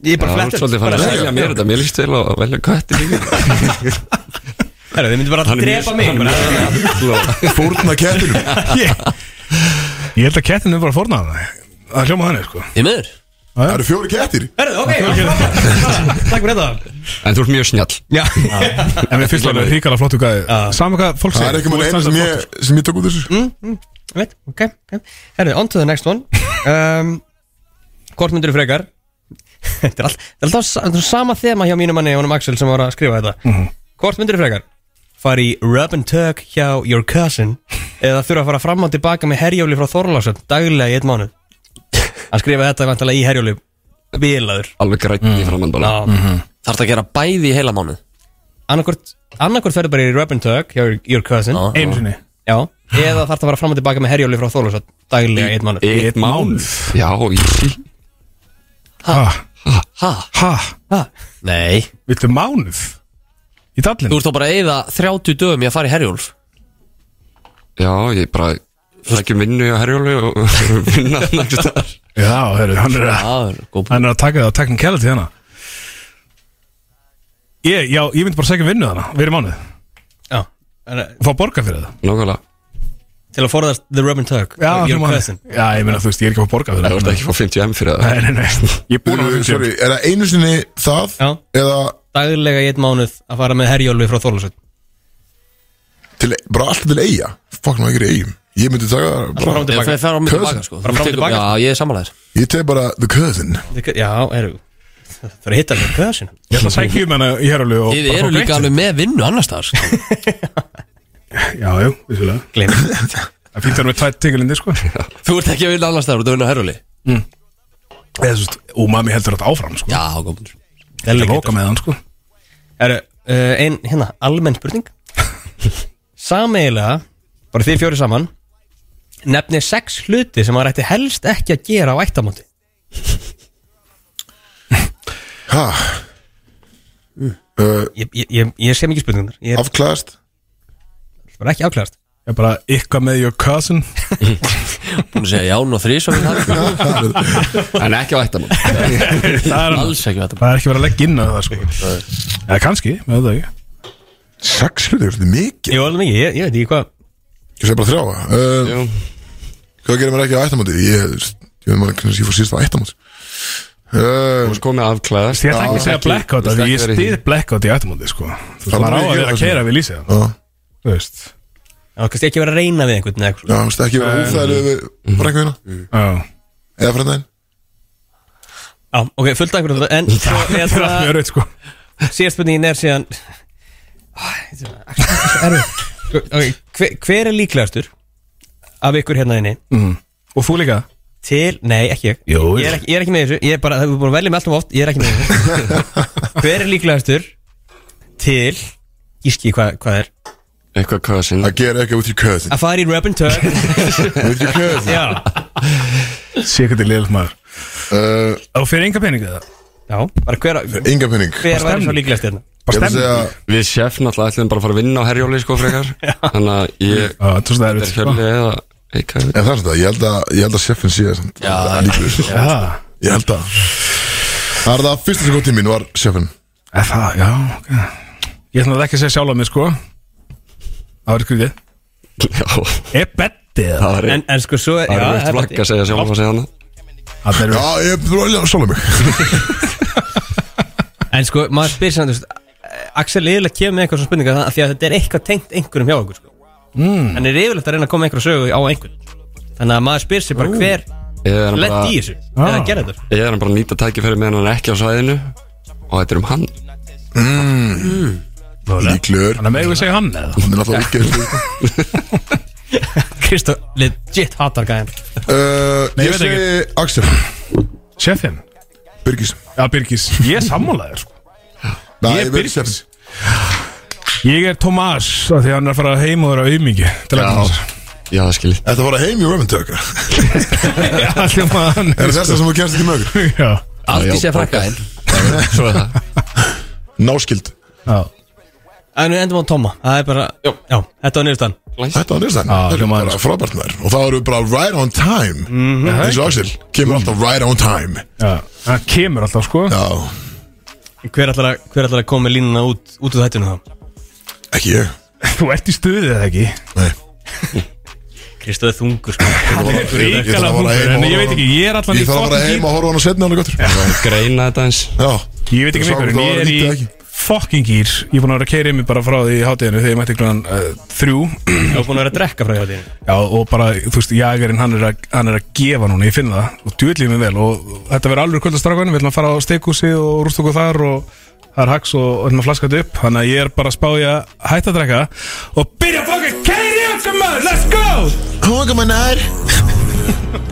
Ég er bara
Það er
flettur
svolítið fann að
Bara-
segja mér þetta Mér líst vel á að velja
Mm.
kötti líka
Herra, þið myndir bara að drepa mig bara.
fórna kettinum
Ég Ég held að kettin er bara fornað Það hljóma þannig sko
Í miður
Það eru fjóri kettir
Herra, ok, frábært. takk fyrir þetta
En þú ert mjög snjall
Já,
En við fyrst alveg ríkala flottu gæði Saman hvað fólk
Það er
segir
ekki
þú
maður
veist
einn
það
sem
sem
ég, sem ég tók út
Mm.
þessu
veit, ok, ok Herra, on to the next one um, Hvort myndir þú frekar Þetta er allt- þetta er alltaf sa- þetta er sama þema hjá mínu manni Jónum Axel sem var að skrifa þetta
Mhm.
Hvort myndir þú frekar Fari í rub and tug hjá your cousin Eða þurfa að fara fram og tilbaka með herjóli frá Þorláksson Daglega í eitt mánuð Hann skrifa þetta vantilega í herjóli Bilaður
Alveg grætt í framann bara
Já,
Þarf það að gera bæði í heila mánu
annarkvort annarkvort ferðu bara í rub and tug hjá your- your cousin
Já.
Einu sinni
já eða þarf það að fara fram og tilbaka með herjóli frá Þólusat daglega í einn mann
Eitt mánuð Já, easy
Ha,
Ha?
ha
Nei
Viltu mánuð Í
Þú
dallinu
ert þá bara að eyða 30 dögum í að fara í Herjólf
Já, ég bara Flækjum vinnu á herjólu og vinna hann ekki staðar
Já, heru, hann er að
Það er góð
Hann er að taka það á technicality hana Ég, já, ég myndi bara segja vinnu þarna Verið mánuð
já En, eh,
Og fá borga fyrir það
Nákvæmlega
til að forðast the rub and tug
Já,
your
fyrir mánuð.
cousin
já ég meina þú veist, ég er ekki að fá borga fyrir
Það
það
vorst ekki að fá 50M fyrir það
Nei, nei, nei Ég er búin að
Uh,
fá
Sorry,
50
er það einu sinni það
Já.
Eða
daglega í einn mánuð að fara með herjóli frá Þólusat
til, bara alltaf til eiga Fokk maður ekki er í eigum Ég myndi taka það bara
fara fram og
Ég
tilbaka
fer fram og
Cousin.
tilbaka sko
Bara fram og
Tekur-
tilbaka.
Já, ég er samanlæður
Ég teg bara the cousin
Þið- já eru það er að hitta með cousin
Ég ætla að sækja um hana í herrölu og
Þið
bara fá
eru
greitt
líka
fyrir
alveg með vinnu annars staðar sko.
það. Já, já, vissulega
gleym
Það fýnt þarf með tætt tingilindi, sko
Þú ert ekki að vinna annars staðar, þú ert að vinna á herjóli
Eða svo, og mami heldur þetta áfram, sko
Já, góð
Það er loka með hann, sko
eru uh, ein hérna almenn spurning sameigilega bara þið fjóri saman nefnið sex hluti sem maður ætti helst ekki að gera á ættamóti
Ha,
Mm.
uh,
ég, ég, ég, ég sé mikið spurningar ég er
afklæðast
bara ekki áklæðast
Ég bara, ykkar með your cousin
Búin að segja ján og þrís og við það sko.
En ekki á ættamann
Það er,
Alls ekki þetta
það er ekki verið að leggja inn að það, sko Eða kannski, með það ekki
Sex hluti, er þetta mikið?
Jó, alveg mikið, ég, ég veit ekki hvað
Ég segi bara þrjá uh,
Jú.
Hvað gerir maður ekki á ættamóti? Ég, ég veit maður hvernig ég fór síðast á ættamóti
Þú
uh,
veist komið afklæðast
Ég ætla
Já,
ekki að segja
ekki-
blackout,
þú
af því
veist
ég
ekki verið
stið blackout í ættumóti, sko Þú
Það
veist, maður á
er ekki
að vera að
það,
keira við lýsið
Já,
Þú veist
Það var kannski ekki verið að reyna við einhvern eða eitthvað
já, þú veist ekki vera
Eh.
úþæðileg við frænguðina
Mm.
Já
Eða frændaðin
Já, ok, fullt af einhverjum En svo hérna- er
Það er allt
það
mjög rauð, sko
Síðast spurningin er síðan Æ, þetta er bara- þetta er erfitt. Ok, hver, hver er líklegastur Af ykkur hérna inni
Og þú líka
Til, nei, ekki ég
Jú,
Ég er ekki, ég er ekki með þessu Ég er bara, það er búin að velja með alltaf oft Ég er ekki með þessu Hver er líklegastur Til Gíski hvað, hvað er
Eitthvað cousin
Að gera eitthvað út í cousin
Að fara í rub and tug
Út í cousin
Já
Sé hvað þetta er liðilegt maður
uh,
Og fyrir enga pening eða?
Já, bara hver
Enga penning
Hver væri svo líklegast hérna?
Ég
Bara
vil segja
stemning
Við chef náttúrulega ætlum bara að fara að vinna á herjóli sko frekar Þannig að ég
Já, þetta er svona
er
erfitt, sko.
hjölli eða eitthvað
En það er svona, ég held að, ég held að sjeffin sé samt Já, líklegur sko.
Já,
Ég held að Það er það fyrsta sem kom til mín var sjeffin
eða það, já ok. Ég ætla að ekki að segja sjálf á mig sko Það var skrítið
Já,
Er bettið það?
það var
En, en sko svo
Það
já,
er eitt
er
flagg að segja sjálf og segja hana
Það eru
Já, ég bróði að sjálf mig
En sko, maður spyr sem þú veist Axel er yfirlega kemur með eitthvað svona spurningar það- Því að þetta er eitthvað tengt einhverjum hjá okkur sko. mm. En er yfirlegt að reyna að koma einhverju sögu á einhvern Þannig að maður spyr sér bara hver
Ég er hann
Lett í
bara,
þessu Eða að gera þetta
ég er hann bara að nýta tækifæri meðan hann er ekki á svæðinu Og þetta er um hann
Líklegur
Þannig að megum við segja hann eða?
Hann er sko. náttúrulega útgeðslu
Kristó legit hatar gæðan
uh,
Nei, ég
Ég
veit ekki.
segi Axel
Chefin?
Birgis
Já, Birgis Ég er sammálaður sko
Nei,
Ég er
ég verð
Birgis.
sjeffin
Ég er Tomás af Því að hann er að fara heim og vera aumingi Til að koma sér.
Já, það skil ég
Þetta var að heim í Römmentöka
Já, hljóma hann
Er þetta sem þú kennst þetta mögur?
Já
Allt í
Já,
sé frakka þinn
Svo er það
Náskild
Já,
En við endum á Tóma Það er bara
Jó.
Já, þetta var nýrstann
Þetta var nýrstæðan
Já,
Þetta er
hljómaði
bara frábært maður Og það eru bara right on time
Mhm.
Eins og Axel Kemur alltaf right on time
já Það kemur alltaf sko
Já,
Hver ætlar að, hver ætlar að koma með línuna út, út úr þættinu þá?
ekki ég
Þú ert í stuðið eða ekki
Nei
Kristó er þungur sko
Ég þarf
Ríkala
að fara
húkur
heim og
En ég veit
horfa á
ekki Ég er
Ég
allan í
þarf að fara heim
fucking
og horfa á hann og setna hann og gott
Greina þetta eins
Já
Ég veit ekki
Sá,
með
þá
ykkur, en ég er
lítið ekki.
í fucking gýr Ég er búin að vera að keira yfir bara frá því í hátíðinu þegar ég mætti klugan uh, þrjú
Ég var búin að vera að drekka frá hjá þínu
Já, og bara, þú veist, jagerinn hann, er að- hann er að gefa núna, ég finn það og djúðlið mér vel og þetta verður alveg kvöldastrákan við ætlum að fara á steikúsi og rúst okkur þar og það er haks og ætlum að flaska þetta upp þannig að ég er bara að spá ég að hætta að drekka og byrja að fucking keira yfir okkur maður, let's go!
Kongumannar